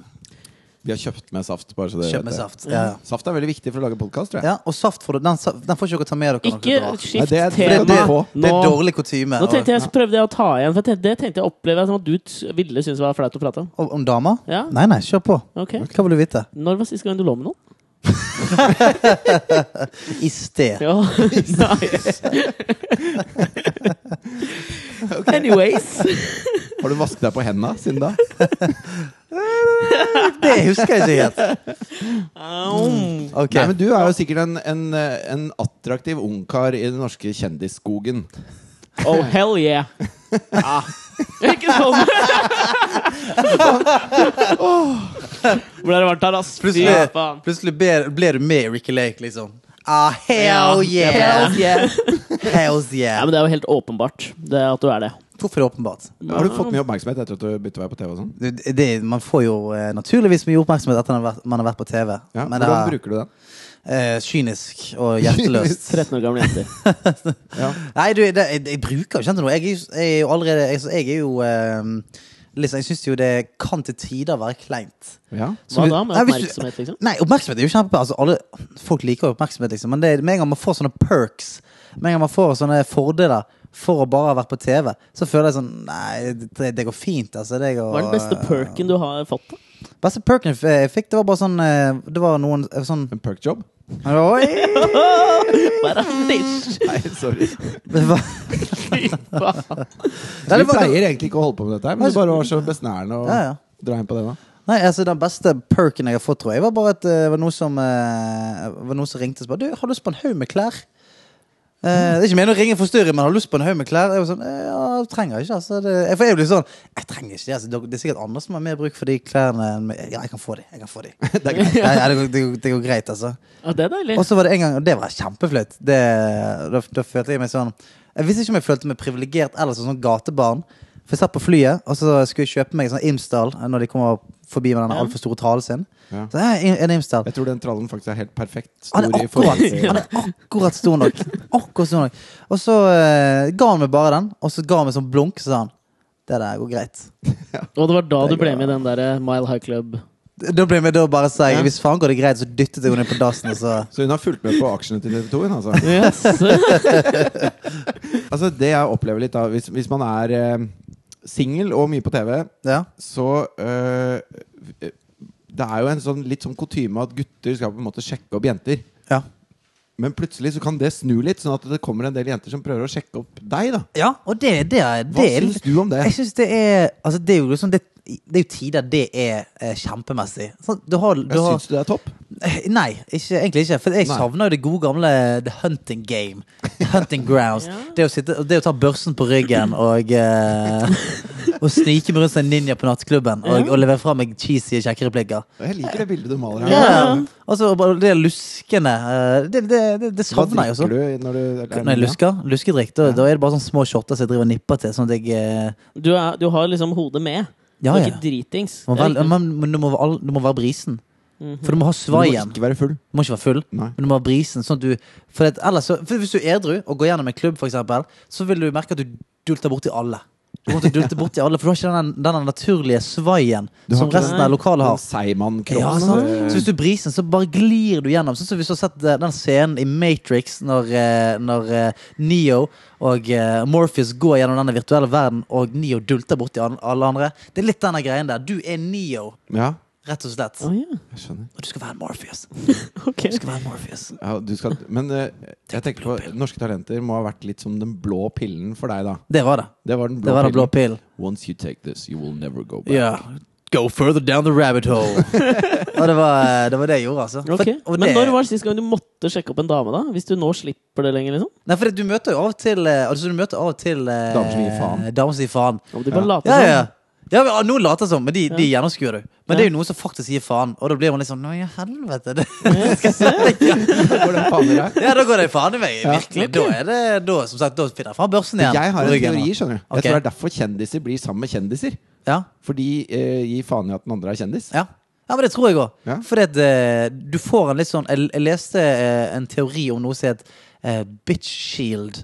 C: Vi har kjøpt med saft. Bare så dere
B: Kjøp
C: vet
B: med
C: det.
B: saft. Ja. ja.
C: Saft er veldig viktig for å lage podkast, tror jeg.
B: Ja, og saft får du, den, sa- den får ikke dere ta med dere. når
A: Ikke
B: dere drar.
A: skift
C: Nei, det er-
B: det,
A: tema.
B: det,
C: Nå-
B: det er dårlig kutyme.
A: Nå tenkte
B: og-
A: jeg, så prøvde jeg å ta igjen, for jeg tenkte, det tenkte jeg opplevde som at du t- ville synes var flaut å prate om.
B: og- Om damer?
A: Ja.
B: Nei, nei, kjør på.
A: Ok.
B: Hva vil du vite?
A: Når var sist gang du lå med noen?
B: I sted.
A: Ja. Nice. Anyways.
C: Har du vasket deg på henda siden da?
B: Det husker jeg ikke helt. Ok.
C: Nei, men Du er jo sikkert en, en, en attraktiv ungkar i den norske kjendisskogen.
A: Oh, hell yeah. Ah. Ja. Ikke sånn. Ble Oh. det varmt her, ass? Fy faen.
B: Plutselig, plutselig ble, ble du med i Ricky Lake, liksom. Ah, hell
A: Ja.
B: yeah!
A: Hell
B: Hells
A: Nei,
B: yeah.
A: men Det er jo helt åpenbart det at du er det.
B: Hvorfor er det åpenbart?
C: Har du fått mye oppmerksomhet etter at du bytta vei på TV? og sånn?
B: Du, Det, man får jo eh, naturligvis mye oppmerksomhet etter at man har vært på TV.
C: Ja,
B: men
C: Hvordan
B: det er,
C: bruker du den?
B: eh, kynisk og hjerteløst.
A: 13 år gamle jenter.
C: Ja.
B: Nei, du, det, jeg, jeg bruker jo ikke noe. Jeg er jo- jeg er jo allerede Jeg, jeg er jo eh, liksom, Jeg syns jo det kan til tider være kleint.
C: Ja.
A: Hva
B: vi-
A: da med
B: Nei, hvis du-
A: oppmerksomhet, liksom?
B: Nei, oppmerksomhet er jo kjempe altså, alle, Folk liker jo oppmerksomhet, liksom. Men det, er- med en gang man får sånne perks, med en gang man får sånne fordeler for å bare ha vært på TV, så føler jeg sånn Nei, det, det går fint, altså. Det går,
A: Hva er den beste perken du har fått? da?
B: Beste perken jeg fikk, det var bare sånn eh, Det var noen eh, sånn
C: En perk-job?
B: Oi!
A: Bare dish.
C: Nei, sorry.
B: Det var,
A: Fy faen.
B: Nei,
C: Vi
B: det var-
C: pleier egentlig ikke å holde på med dette, her, men det bare var så besnærende å
B: ja, ja.
C: dra inn på det nå.
B: Nei, altså Den beste perken jeg har fått, tror jeg, var bare at det var noen som, eh, var noen som ringte og spurte Du, har du lyst på en haug med klær. Eh, det er ikke meningen å ringe og forstyrre, men har du lyst på en haug med klær? Jeg var sånn, eh, ja, jeg trenger ikke altså, det, jeg- For jeg blir sånn Jeg trenger ikke det. Altså, det er sikkert andre som har mer bruk for de klærne. enn meg. Ja, jeg kan få de. Jeg kan få de.
C: Det er greit.
B: Nei, det, går, det, går, det går greit, altså.
A: Ja, det er deilig.
B: Og så var det en gang, og det var kjempeflaut. Det- Da, da følte jeg meg sånn Jeg visste ikke om jeg følte meg privilegert eller som sånn gatebarn. For jeg satt på flyet, og så skulle jeg kjøpe meg en sånn Imsdal eh, når de kommer forbi med den
A: Ja.
B: altfor store talen sin.
C: Ja.
B: Så jeg, en Imsdal.
C: Jeg tror den trallen faktisk er helt perfekt stor
B: Han Ah, er
C: i forhold
B: akkurat,
C: til
B: han er akkurat stor nok. Akkurat stor nok. Og så eh, ga han meg bare den, og så ga han meg sånn blunk, så sa han Det der går greit.
A: Og det var da du ble med i den der eh, Mile High Club.
B: Da ble jeg da bare sa jeg
C: Ja.
B: hvis faen går det greit, så dyttet jeg henne inn på dassen, og så
C: Så hun har fulgt med på aksjene til TV 2? Hun, altså.
A: Yes.
C: altså, det jeg opplever litt da, hvis, hvis man er eh, singel og mye på TV,
B: Ja.
C: så eh, Det er jo en sånn, litt sånn kutyme at gutter skal på en måte sjekke opp jenter.
B: Ja.
C: Men plutselig så kan det snu litt, sånn at det kommer en del jenter som prøver å sjekke opp deg. da
B: ja og det, det er
C: Hva
B: det er
C: syns du om det?
B: Jeg synes det er Altså, det er jo liksom det, det er jo tider det er eh, kjempemessig. Sånn, du har, du
C: Jeg
B: har
C: syns du det er topp?
B: Eh, Nei, ikke, egentlig ikke. For jeg
C: Nei.
B: savner jo det gode gamle The Hunting Game. The Hunting Grounds. det, å sitte, det å ta børsen på ryggen og eh, Og snike meg rundt som en ninja på nattklubben og, og levere fra meg cheesy kjekkereplikker.
C: Jeg liker det bildet du maler her.
A: Ja.
B: Altså, og bare det luskende eh, Det, det, det, det
C: Hva
B: savner jeg også.
C: drikker du når du er
B: Når sånn. jeg lusker, luskedrikk, da, da er det bare sånne små shotter som jeg driver og nipper til. Sånn at jeg eh,
A: Du, er, du har liksom hodet med.
B: Ja,
A: du er
B: ja.
A: ikke dritings.
B: må
A: Det er
B: vel,
A: riktig.
B: men, men du, må, være all- du må være brisen. For du må ha
C: Du må
B: svaien.
C: ikke være full.
B: Du må ikke være full,
C: Nei.
B: men du må ha brisen. Sånn at du, for at ellers, så- for hvis du er edru og går gjennom en klubb, for eksempel, så vil du merke at du dulter borti alle. Du kommer til å dulte borti alle, For du har ikke den, den naturlige svaien
C: Du har
B: som
C: ikke den-
B: resten av lokalet har.
C: Den Seigmann-kroppen.
B: Ja, sånn. sant? Så hvis du er brisen, så bare glir du gjennom. Sånn som hvis du har sett eh, den scenen i Matrix når, eh, når eh, Neo og eh, Morpheus går gjennom denne virtuelle verden, og Neo dulter borti an- alle andre. Det er litt denne greien der. Du er Neo,
C: ja,
B: rett og slett.
A: Å, ja.
C: jeg skjønner.
B: Og du skal være Morpheus.
A: Ok.
B: Du skal være Morpheus.
C: Ja, du skal, men eh, jeg tenker på Norske Talenter må ha vært litt som den blå pillen for deg, da.
B: Det var det.
C: Det var den blå,
B: Det var den blå
C: pillen.
B: pillen.
C: Once you take this, you will never go back.
B: Ja. Go further down the rabbit hole. og det var, det var det jeg gjorde, altså. For-
A: Ok.
B: og
A: Men
B: det-
A: når var det sist gang du måtte sjekke opp en dame, da? Hvis du nå slipper det lenger, liksom?
B: Nei, for du møter jo av og til eh, altså, Du møter av og til eh,
C: Damer som gir faen.
B: Damer som gir faen.
A: Om de bare later
B: Ja,
A: som.
B: ja.
C: Sånn.
B: ja men, ah, noen later som, men de, de gjennomskuer du. Men
A: Ja.
B: det er jo noen som faktisk gir faen, og da blir man litt sånn Nå i helvete. Det.
C: Går den faen i deg?
B: Ja, da går det faen i meg.
C: Ja.
B: Virkelig. Da er det da, som sagt, da finner jeg fram børsen igjen.
C: Jeg har
B: på
C: en
B: ryggen,
C: teori,
B: og-
C: skjønner du.
B: Ok.
C: Jeg tror det er derfor kjendiser blir sammen med kjendiser.
B: Ja.
C: For de eh, gir faen i at den andre er kjendis.
B: Ja. ja, men det tror jeg òg.
C: Ja.
B: Fordi at eh, du får en litt sånn Jeg, jeg leste eh, en teori om noe som het eh, bitch shield.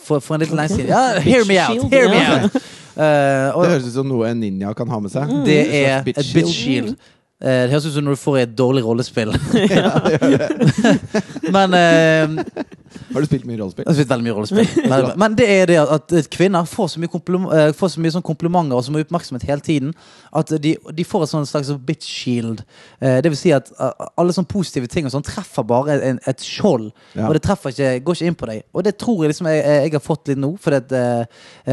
B: For, for en litt lenge siden. Ja, hear me
A: Bitch
B: out!
A: shield,
B: Hear me
A: ja.
B: out! Eh,
C: Det
B: og Mm.
C: høres ut som noe en ninja kan ha med seg.
B: det
C: Et
B: er
C: Mm. slags
B: et bitch shield. Eh, det høres ut som når du får et dårlig rollespill. men eh,
C: Har du spilt mye rollespill?
B: Jeg har spilt veldig mye rollespill. Men, men det er det at at kvinner får så mye, komplom- eh, får så mye sånn komplimenter og så mye oppmerksomhet hele tiden at de, de får et sånn slags bitch shield. Eh, Det vil si at eh, alle sånne positive ting og sånn treffer bare en, et skjold.
C: Ja.
B: Og det treffer ikke, går ikke inn på deg. Og det tror jeg liksom jeg, jeg har fått litt nå, fordi at eh,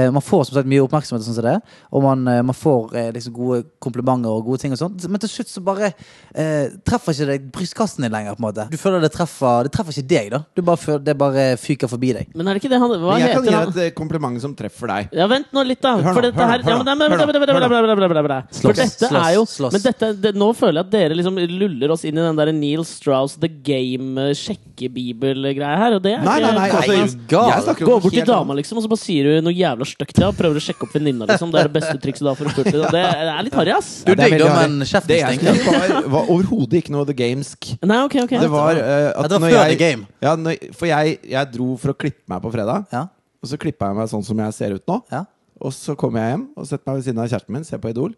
B: eh, man får som sagt mye oppmerksomhet, og sånn som det, og man, eh, man får eh, liksom gode komplimenter og gode ting og sånt. Men til slutt så bare eh, treffer ikke det brystkassen din lenger, på en måte. Du føler det treffer, det treffer ikke deg, da. Du bare føler, det bare fyker forbi deg.
A: Men er det ikke det han Hva
C: Men jeg kan
A: heter
C: gi
A: han?
C: deg et eh, kompliment som treffer deg.
A: Ja, vent nå litt, da.
C: Hør nå,
A: For dette
C: hør nå,
A: her
C: hør
A: ja, men, men,
C: nå, hør nå,
A: men-
C: hør nå.
A: men- men- men- men- For
B: Slåss,
A: dette
B: slåss,
A: er jo
B: slåss.
A: Men dette, det, nå føler jeg at dere liksom luller oss inn i den der Neil Strauss The Game-sjekkebibel-greia her, og det er
C: Nei, nei, nei.
A: ikke
C: Altså,
B: er
C: jeg
B: du gal?
C: snakker om
A: Gå bort til
C: helt annet.
A: dama, liksom, og så bare sier du noe jævla stygt til henne. Prøver å sjekke opp venninna, liksom. Det er det beste trikset du har for å pulte. Det er litt harry, ass.
B: Du
C: Ja, det er
B: digg, da,
C: veldig
B: men
C: harry.
B: kjeften
C: Det jeg
B: stinker.
C: skulle si, var, var overhodet ikke noe The Gamesk.
A: Nei, ok, ok.
C: Det var eh,
B: Ja, det
C: at
B: var
C: når
B: før
C: jeg,
B: The Game.
C: Ja, når, for jeg, jeg dro for å klippe meg på fredag.
B: Ja,
C: Og så klippa jeg meg sånn som jeg ser ut nå.
B: ja.
C: Og så kommer jeg hjem og setter meg ved siden av kjæresten min, ser på Idol.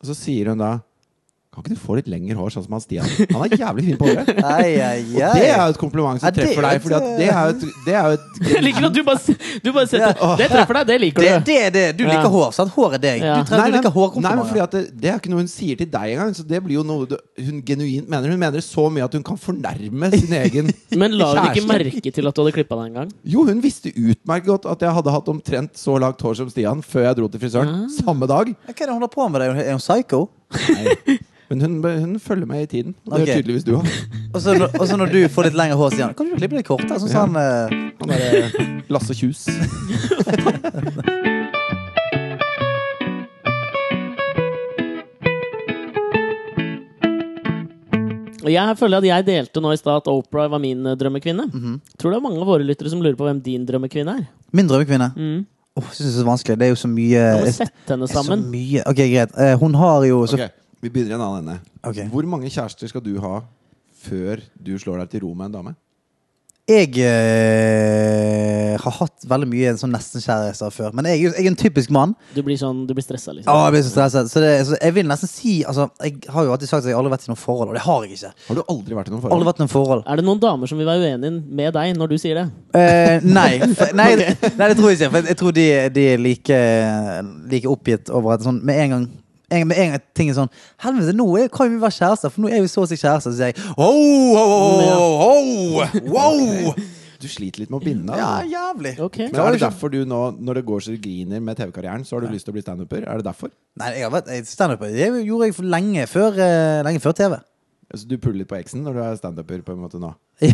C: Og så sier hun da Kan ikke du få litt lengre hår, sånn som han Stian? Han er jævlig fin på håret.
B: Ai, ai,
C: Og
B: ai.
C: det er jo et kompliment som
B: Ja, det er
C: treffer
B: et-
C: deg,
B: eh,
C: Fordi at det er jo et, det er jo et
A: Jeg liker at du bare, s- du bare setter Det treffer deg, det liker
B: det,
A: du.
B: det, er det. Du liker
A: Ja.
B: hår, sant? Hår er deg.
A: Ja.
B: Du, trenger, du liker
C: nei, men fordi
B: hårkomplimenter.
C: at det, det er ikke noe hun sier til deg engang. Så det blir jo noe du, hun genuint mener. Hun mener det så mye at hun kan fornærme sin egen
A: Men la hun ikke
C: Kjæresten.
A: merke til at du hadde klippa deg en gang?
C: Jo, hun visste utmerket godt at jeg hadde hatt omtrent så langt hår som Stian før jeg dro til
B: Ah.
C: frisøren. Samme dag.
B: Hva er det hun holder på med? deg? Er hun psycho?
C: Men hun, hun følger med i tiden. Det
B: Ok.
C: gjør tydeligvis du òg.
B: Og så når- og så når du får litt lengre hår, sier han Kan ikke du klippe det kortere? Sånn som han eh,
C: Han er eh, Lasse Kjus.
A: Og Jeg føler at jeg delte nå i stad at Oprah var min eh, drømmekvinne.
C: Mhm.
A: Tror det er mange av våre lyttere som lurer på hvem din drømmekvinne er.
B: Min drømmekvinne.
A: Mm.
B: Åh, synes det er så vanskelig. Det er jo så
C: Eh,
B: mye
A: Du må sette henne
B: Så
A: sammen.
B: mye. Ok, greit. Eh, hun har jo så
C: Ok, Vi begynner i en annen ende.
B: Ok.
C: Hvor mange kjærester skal du ha før du slår deg til ro med en dame?
B: Jeg eh, har hatt veldig mye en sånn nesten-kjærester før. Men jeg, er jo- jeg er en typisk mann.
A: Du blir sånn, du blir stressa, liksom.
C: Ah.
B: Å, jeg blir så stresset. Så, det, så jeg vil nesten si altså, Jeg har jo alltid sagt at jeg aldri har vært i noe forhold, og det har jeg ikke.
C: Har du aldri vært i noen
B: Aldri
C: forhold?
B: vært i noe forhold.
A: Er det noen damer som vil være uenige med deg når du sier det?
B: Eh, nei, f- nei, nei, det tror jeg ikke. For jeg- jeg tror de, de er like, like oppgitt over at sånn med en gang en, med en gang ting er sånn Helvete, nå er, kan vi være kjærester, for nå er vi så å si kjærester. Så sier jeg ho, ho, ho, ho, ho, wow!
C: Du sliter litt med å binde.
B: Ja,
C: altså.
B: jævlig.
A: Ok.
C: Men er det derfor du nå, når det går så det griner med TV-karrieren, så har du lyst til å bli standuper? Er det derfor?
B: Nei, jeg har vært jeg- standup. Det gjorde jeg for lenge før, eh, lenge før TV.
C: Altså, du puller litt på eksen når du er standuper på en måte nå?
B: ja,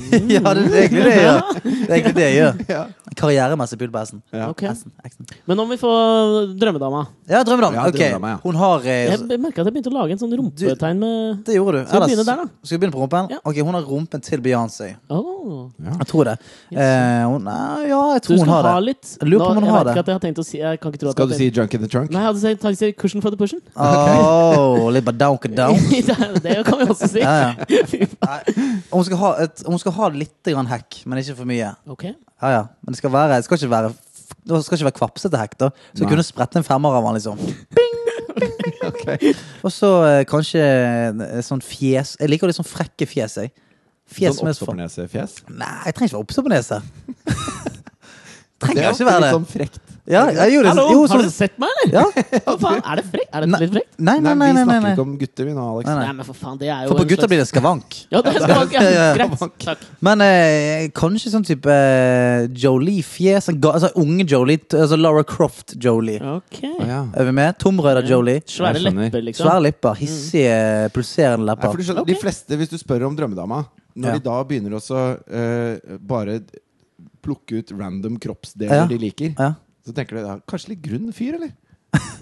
B: det er egentlig det jeg gjør. Det er egentlig det jeg gjør.
C: Mm. Ja.
B: Karrieremessig pull på S-en.
C: Ja.
A: Ok.
B: S-en, X-en.
A: Men om vi får drømmedama
B: Ja, drømmedam.
C: Ja,
B: Ok.
C: drømmedam, ja.
B: Hun har eh,
A: Jeg merka at jeg begynte å lage en sånn rumpetegn med
B: Det gjorde du.
A: Skal vi begynne der, da?
B: Skal vi begynne på rumpen?
A: Ja.
B: Ok, Hun har rumpen til Beyoncé.
A: Åh.
B: Jeg tror det. Eh, hun, nei, ja,
A: Du
B: jeg tror hun
A: skal
B: har
A: ha
B: det.
A: litt
B: Jeg lurer på om
A: Nå-
B: hun
A: jeg
B: har
A: vet
B: det.
A: ikke at jeg har tenkt å si Jeg kan ikke tro at
C: Skal
A: jeg
C: du
A: har
C: si
A: tenkt-
C: junk in the trunk?
A: Nei, jeg hadde tenkt- tenkt å si cushion for the pushen.
B: Åh, litt badownka down.
A: det det kan vi også si.
B: Ja, ja.
A: Fy faen.
B: Hun skal ha, et, hun skal ha litt grann hekk, men ikke for mye.
A: Ok.
B: Ja, ja. Men det skal, være, det skal ikke være det skal ikke være kvapsete hekk, da. Så
C: Nei.
B: kunne sprette en femmer av han, liksom.
C: Ok.
B: Og så eh, kanskje eh, sånn fjes. Jeg liker litt sånn frekke fjes, jeg. Fjes
C: Sånn
B: med sånn
C: oppstoppernese-fjes?
B: Nei, jeg trenger ikke være oppstoppenese.
C: Det
B: trenger
C: er
B: ikke være det.
C: litt sånn frekt.
B: Ja, jeg gjorde det.
A: Hallo,
B: Jo,
A: har
B: sånn.
A: dere sett meg, eller?
B: Ja.
A: Hva faen, er det frekt? Er det
B: Nei.
A: litt frekt?
B: Nei, nei, nei.
C: vi
B: nei,
C: snakker
B: nei,
C: ikke om gutter, vi nå, Alex.
B: Nei,
A: Nei, men for faen, det er jo
B: For på
A: en
B: gutta
A: slags-
B: blir det skavank.
A: Ja, det skal man
B: Ja, ja, ja.
A: Greit. Takk.
B: Men eh, kanskje sånn type eh, Jolie-fjes. en ga- Altså unge Jolie. t- Altså Lara Croft-Jolie.
A: Ok.
C: Å, ja.
B: Er vi med? Tomrøyda Jolie.
A: Svære
C: Jeg skjønner.
A: lepper, liksom.
B: Svære lepper.
A: Mm.
B: Hissige, pulserende
C: Nei, for
B: lepper.
C: du skjønner, De fleste, hvis du spør om drømmedama, når
B: Ja.
C: de da begynner også eh, bare plukke ut random kroppsdeler
B: Ja.
C: de liker,
B: Ja.
C: så tenker du ja, kanskje litt grunn fyr, eller?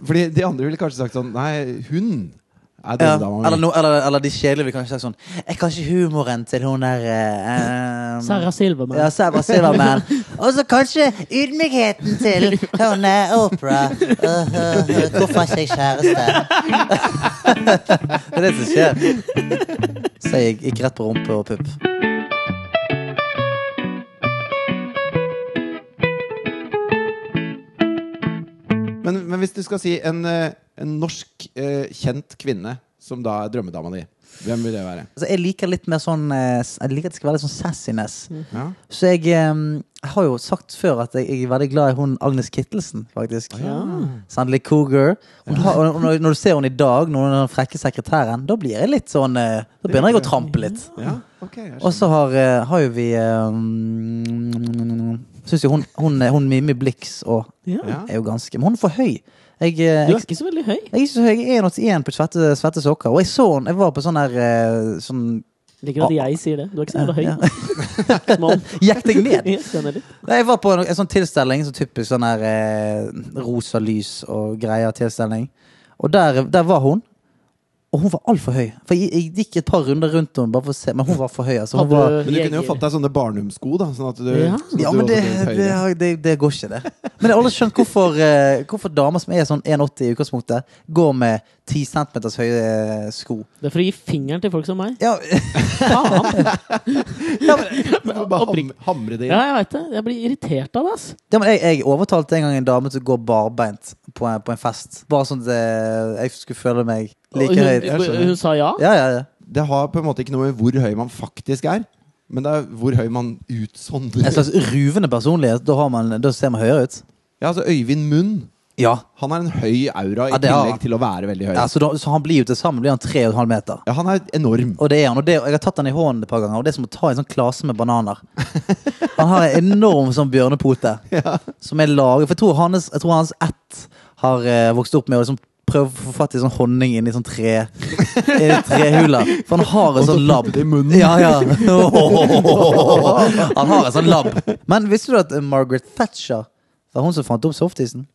C: Fordi de andre ville kanskje sagt sånn Nei, hun
B: Ja,
C: er drømmedama
B: eller,
C: mi.
B: no, eller, eller de kjedelige vil kanskje si sånn Jeg kan ikke humoren til hun der eh, eh,
A: Sarah Silverman.
B: Ja, Sarah Silverman. Og så kanskje ydmykheten til hun eh, Oprah. Uh, uh, uh, hvorfor er ikke jeg kjæreste? det er det som skjer. Så jeg gikk rett på rumpe og pupp.
C: Men, men hvis du skal si en, eh, en norsk eh, kjent kvinne som da er drømmedama di, hvem vil det være?
B: Altså, jeg liker litt mer sånn eh, s- Jeg liker at det skal være litt sånn sassiness.
C: Ja.
B: Så jeg, eh, jeg har jo sagt før at jeg, jeg er veldig glad i hun Agnes Kittelsen, faktisk. Sandley Cougar. Hun har, og når, når du ser henne i dag, når hun er den frekke sekretæren, da blir jeg litt sånn eh, Da begynner jeg å trampe litt.
C: ja, ok jeg skjønner.
B: Og så har, eh, har jo vi um, Syns jo hun, hun, hun Mimi Blix og
A: Ja.
C: Ja.
B: er jo ganske Men hun er for høy. Jeg, eh,
A: Du er
B: jeg,
A: ikke så veldig høy.
B: jeg er ikke så høy. Jeg er 1,81 på svette, svette sokker. Og jeg så henne. Jeg var på sånn her eh, sånn
A: Liker at jeg sier det. Du er ikke så veldig høy.
B: ja.
A: Mann.
B: Gikk deg ned?
A: Jeg kjenner litt.
B: Nei, jeg var på en, en sånn tilstelning, sånn typisk sånn her eh, rosa lys og greier-tilstelning. Og der, der var hun. Og hun var altfor høy. For jeg, jeg gikk et par runder rundt henne, bare for å se, men hun var for høy. Altså, hun
A: Hadde
B: var,
C: Men du kunne jo
A: jeger.
C: fått deg sånne barnumsko, da. Sånn at du,
A: Ja.
C: sånn at
B: Ja,
C: du
B: men
C: også
B: det,
C: ble litt
B: det,
C: høyere.
B: det, det går ikke, det. Men jeg har aldri skjønt hvorfor, eh, hvorfor damer som er sånn 1,80 i utgangspunktet, går med 10 cm høye eh, sko.
A: Det er for å gi fingeren til folk som meg.
B: Ja,
A: Faen!
C: Du må bare ham,
A: Oppriktig.
C: hamre det inn.
A: Ja, jeg veit det. Jeg blir irritert av det, ass.
B: ja, men jeg, jeg overtalte en gang en dame til å gå barbeint på en, på en fest. Bare sånn at eh, jeg skulle føle meg
A: Og
B: like høyt.
A: hun, hun, hun sa ja?
B: Ja, ja, ja.
C: Det har på en måte ikke noe med hvor høy man faktisk er, men det er hvor høy man utsondrer.
B: En slags ruvende personlighet. Da, har man, da ser man høyere ut.
C: Ja, altså Øyvind Munn
B: Ja.
C: han har en høy aura i
B: Ja, det har han.
C: tillegg til å være veldig høy.
B: ja så, Altså, da, så han blir jo til sammen blir han 3,5 meter.
C: Ja, han er enorm.
B: Og det er han, og det, jeg har tatt han i hånden et par ganger, og det er som å ta en sånn klase med bananer. Han har en enorm sånn bjørnepote som er laget For jeg tror hans, jeg tror hans ett har eh, vokst opp med å liksom prøve å få fatt i sånn honning inni sånn tre i trehuler. For han har en sånn labb.
C: i munnen.
B: Ja, ja. Han har en sånn labb. Men visste du at eh, Margaret Thatcher det var hun som fant opp softisen?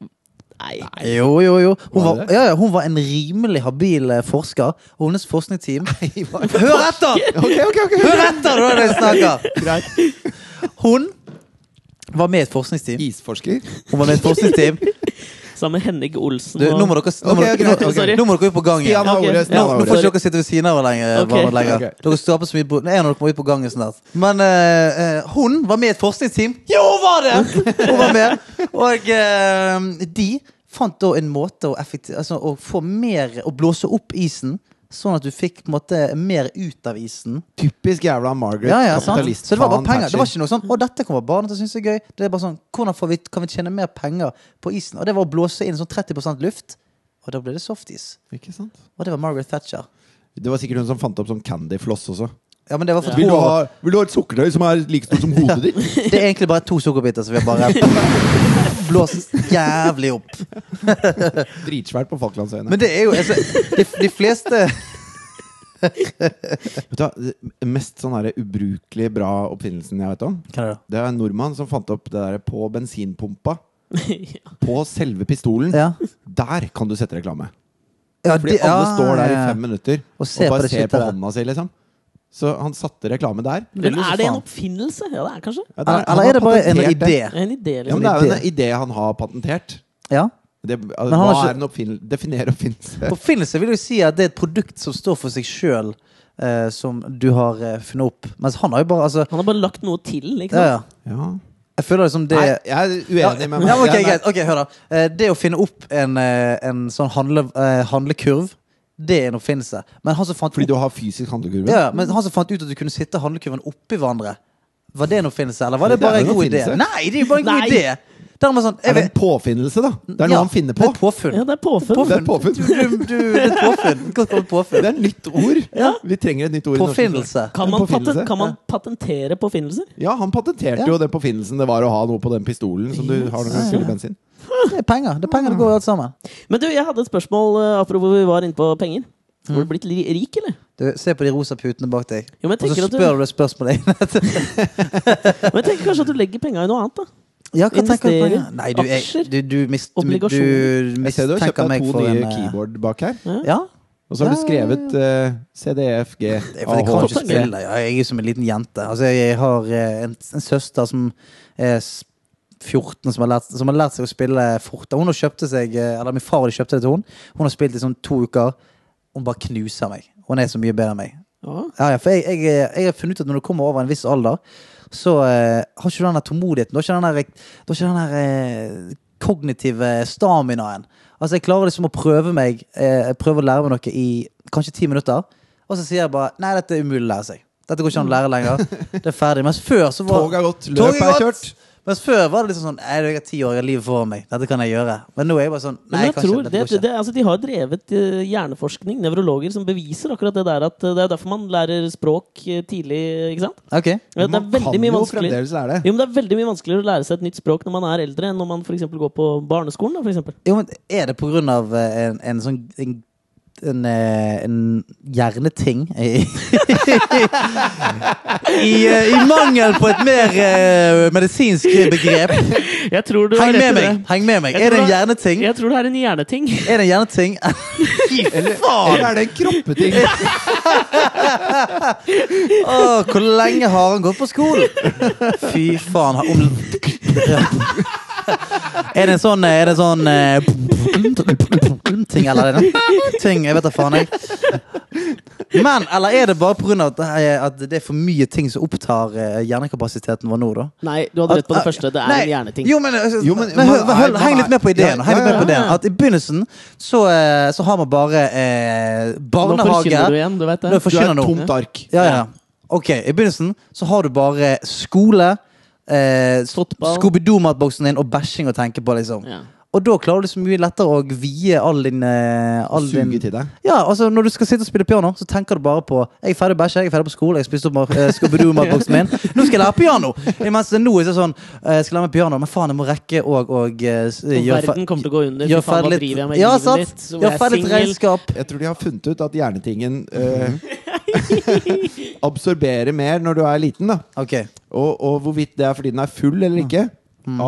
A: Nei.
B: Jo, jo, jo. Hun
C: Var
B: var,
C: det?
B: ja, ja, hun var en rimelig habil eh, forsker. Og hennes forskningsteam Hør etter!
C: Ok, ok, ok
B: Hør etter når jeg snakker!
C: Greit.
B: Hun var med i et forskningsteam.
C: Isforsker.
B: Hun var med i et forskningsteam.
A: Sammen med Henning Olsen
B: Du, nå må dere nå må,
C: Ok, ok,
B: nå,
C: ok.
B: nå, nå må dere ut på gangen.
C: Stian
B: Nå,
C: har
A: Ok.
C: ordet.
A: Ja,
C: Stian har
B: nå
C: ordet.
B: får ikke dere sitte ved siden av hverandre.
A: Ok.
B: hverandre lenger.
C: Ok.
B: Dere skaper så mye bro- Nei, En av dere må ut på gangen snart. Men eh, eh, hun var med i et forskningsteam. Jo, hun var det! Hun var med. Og eh, de fant da en måte å, effekti- altså, å få mer Å blåse opp isen, sånn at du fikk på en måte mer ut av isen.
C: Typisk jævla Margaret.
B: Ja, ja, sant.
C: kapitalist.
B: Så det var bare
C: faen,
B: penger. Det var
C: Thatcher.
B: ikke noe sånn 'Å, dette kommer barna til å synes er gøy'. Det er bare sånn 'Hvordan får vi, kan vi tjene mer penger på isen?' Og det var å blåse inn sånn 30 luft, og da ble det softis.
C: Ikke sant?
B: Og det var Margaret Thatcher.
C: Det var sikkert hun som fant opp sånn candyfloss også.
B: Ja, men det var for
C: Vil, du
B: to år.
C: ha, vil du ha et sukkertøy som er like stort som hodet ditt?
B: Det er egentlig bare to sukkerbiter som vi har bare blåst jævlig opp.
C: Dritsvært på Falklandsøyene.
B: Men det er jo altså, de, de fleste
C: Vet du hva, det mest sånn her ubrukelig bra oppfinnelsen jeg vet om,
B: Hva er det da?
C: det er en nordmann som fant opp det der på bensinpumpa. På selve pistolen.
B: Ja.
C: Der kan du sette reklame.
B: Ja,
C: Fordi
B: de- ja,
C: alle står der i
B: ja, ja.
C: fem minutter og,
B: Og ser på
C: bare
B: det
C: ser på
B: skittet der.
C: hånda si, liksom. Så han satte reklame der.
A: Men
C: Eller så
A: er det en
C: faen-
A: oppfinnelse? Ja, det er kanskje.
C: Ja, det
B: Eller,
C: han
B: eller
C: har
B: er det bare en
C: patentert
B: idé?
A: Det er en idé,
C: Ja,
A: liksom.
C: men det er jo en idé han har patentert.
B: Ja.
C: Det, altså,
B: han
C: hva
B: har ikke-
C: er en oppfinnelse? Definer oppfinnelse.
B: Oppfinnelse vil jo si at det er et produkt som står for seg sjøl, eh, som du har eh, funnet opp. Mens han har jo bare altså,
A: Han har bare lagt noe til, liksom. ikke
B: ja,
A: sant?
B: ja.
C: Ja.
B: Jeg føler det som det
C: Nei, jeg er
B: ja,
C: uenig
B: ja,
C: med meg.
B: men ok,
C: Jeg-
B: greit. ok, hør da. Eh, Det å finne opp en, eh, en sånn handle, eh, handlekurv, det er en oppfinnelse. Men han som fant
C: Fordi
B: opp,
C: du har fysisk handlekurve?
B: ja, men han som fant ut at du kunne sitte handlekurven oppi hverandre, var det en oppfinnelse, eller var det
C: Det er
B: bare en
C: jo en
B: god idé?
C: oppfinnelse.
B: Nei, det er jo bare en god
A: Nei.
B: idé! Det er noe sånn, jeg
C: Er det en
B: vet,
C: påfinnelse, da? Det er noe
B: ja,
C: han finner
B: Det er
C: på.
B: et påfunn.
A: Ja, det er påfunn.
C: Det er et påfunn.
B: Du, du, du, det er et påfunn. Godt gammelt
C: Det
B: påfunn.
C: er et nytt ord. Vi trenger et nytt ord. i norsk språk.
B: Påfinnelse.
A: Kan man,
C: En påfinnelse?
A: paten- kan man patentere påfinnelser?
C: Ja, han patenterte
B: Ja.
C: jo den påfinnelsen det var å ha noe på den pistolen som du har når du fyller bensin.
B: Det er penger. Det er penger det går i alt sammen.
A: Men du, jeg hadde et spørsmål eh, apropos vi var inne på penger.
C: Mm.
A: Har du blitt li- rik, eller?
B: Du, se på de rosa putene bak deg,
A: Jo, men
B: og
A: jeg
B: så
A: tenker, at
B: spør
A: du,
B: du det spørsmålet.
A: men jeg tenker kanskje at du legger penga i noe annet, da.
B: ja, hva tenker du på?
A: Investerer,
B: Nei, du, jeg,
A: aksjer,
B: du, du, mist,
A: obligasjoner.
B: du
C: Jeg ser du har kjøpt
B: mistenker meg
C: deg to
B: for en
C: nye
B: eh,
C: keyboard bak her.
B: Ja,
C: Og så
B: Ja, ja,
C: har du
B: ja,
C: skrevet eh, CDFG
B: det er fordi jeg kan ikke
A: Håper jeg.
B: spille. Ja, Jeg er jo som en liten jente. Altså, jeg har eh, en, en søster som er s- 14 som har, lært, som har lært seg å spille fort. Hun har kjøpte seg, eh, eller Min far hadde kjøpt det til hun Hun har spilt i sånn to uker. Hun bare knuser meg. Hun er så mye bedre enn meg.
A: Ja.
B: Ja, ja, for jeg, jeg, eh, jeg har funnet ut at når du kommer over en viss alder, så eh, har ikke du den der tålmodigheten. Du har ikke den der, eh, du har ikke den der eh, kognitive staminaen. Altså, jeg klarer liksom å prøve meg eh, jeg prøver å lære meg noe i kanskje ti minutter, og så sier jeg bare Nei, dette er umulig å lære seg. Dette går ikke an å lære lenger. Det er ferdig. Mens før så var
C: Toget er gått,
B: Toget
C: løpet er
B: gått.
C: kjørt.
B: Mens før var det liksom sånn Nei, jeg har ti år av livet foran meg. Dette kan jeg gjøre. Men nå er jeg bare sånn Nei,
A: Men jeg
B: kanskje,
A: tror det,
B: dette går
A: det,
B: ikke.
A: altså, De har drevet eh, hjerneforskning, nevrologer, som beviser akkurat det der at eh, det er derfor man lærer språk eh, tidlig. ikke sant?
B: Ok.
A: Ja, det er
C: Man
A: veldig
C: kan
A: mye
C: jo
A: vanskeligere
C: fremdeles lære det.
A: jo, men det er veldig mye vanskeligere å lære seg et nytt språk når man er eldre, enn når man for eksempel går på barneskolen. Da, for eksempel.
B: Jo, men er det på grunn av eh, en, en sånn en, en, eh, en hjerneting i, I, eh, I mangel på et mer eh, medisinsk begrep.
A: Jeg tror du
B: Heng
A: har
B: med
A: rett i
B: meg!
A: det.
B: Heng med meg.
A: Jeg
B: Er det
A: tror
B: en
A: det er-
B: hjerneting?
A: Jeg tror det er en hjerneting.
B: Er det en hjerneting? Fy
C: Eller
B: faen!
C: er det en kroppeting?
B: Åh, hvor lenge har han gått på skolen? Fy faen. har- Om... Er det en sånn Er det en sånn eh, Ting, eller er det noe? Ting, jeg vet da faen, jeg. Men, eller er det bare pga. At, det er- at det er for mye ting som opptar eh, hjernekapasiteten vår nå, da? eh,
A: Nei, du hadde rett på det første. Det er
B: Nei,
A: en hjerneting.
B: Jo, men, altså,
C: Jo, men-
B: men hør,
C: man er-
B: hør, heng
C: man
B: litt med på
C: er-
B: ideen. Heng
C: Ja,
B: litt med
A: ja,
B: på
A: ja.
B: ideen At I begynnelsen så, eh, så har man bare eh,
A: Nå
B: barnehage.
A: forkynner du igjen, du vet
B: Nå
A: det.
C: Du er
B: forkynner
C: et
B: noe.
C: tomt ark.
B: Ja, ja. Ok, I begynnelsen så har du bare skole, eh,
A: Fotball.
B: Scooby-Doo-matboksen din og bæsjing å tenke på. liksom
A: Ja.
B: Og da klarer du så mye lettere å vie all din, eh, all din
C: Suge til deg.
B: ja, altså Når du skal sitte og spille piano, så tenker du bare på Jeg er ferdig å bæsje, jeg er ferdig på skole, jeg spiste opp eh, Scooby-Doo-matboksen min. Nå skal jeg lære piano! Mens det nå er det sånn eh, Jeg skal lære meg piano, men faen, jeg må rekke og, og eh, s-
A: Og
B: gjøre
A: verden
B: fe-
A: kommer til å gå under. Fy
B: gjøre
A: faen, hva
B: ferdig
A: driver jeg
B: litt
A: med i
B: Ja,
A: livet
B: sant?
A: mitt? Så
B: Gjøre
A: jeg er
B: ferdig litt
A: singel.
B: regnskap.
C: Jeg tror de har funnet ut at hjernetingen eh,
B: Mhm.
C: absorberer mer når du er liten. da
B: Ok.
C: og, og hvorvidt det er fordi den er full eller ikke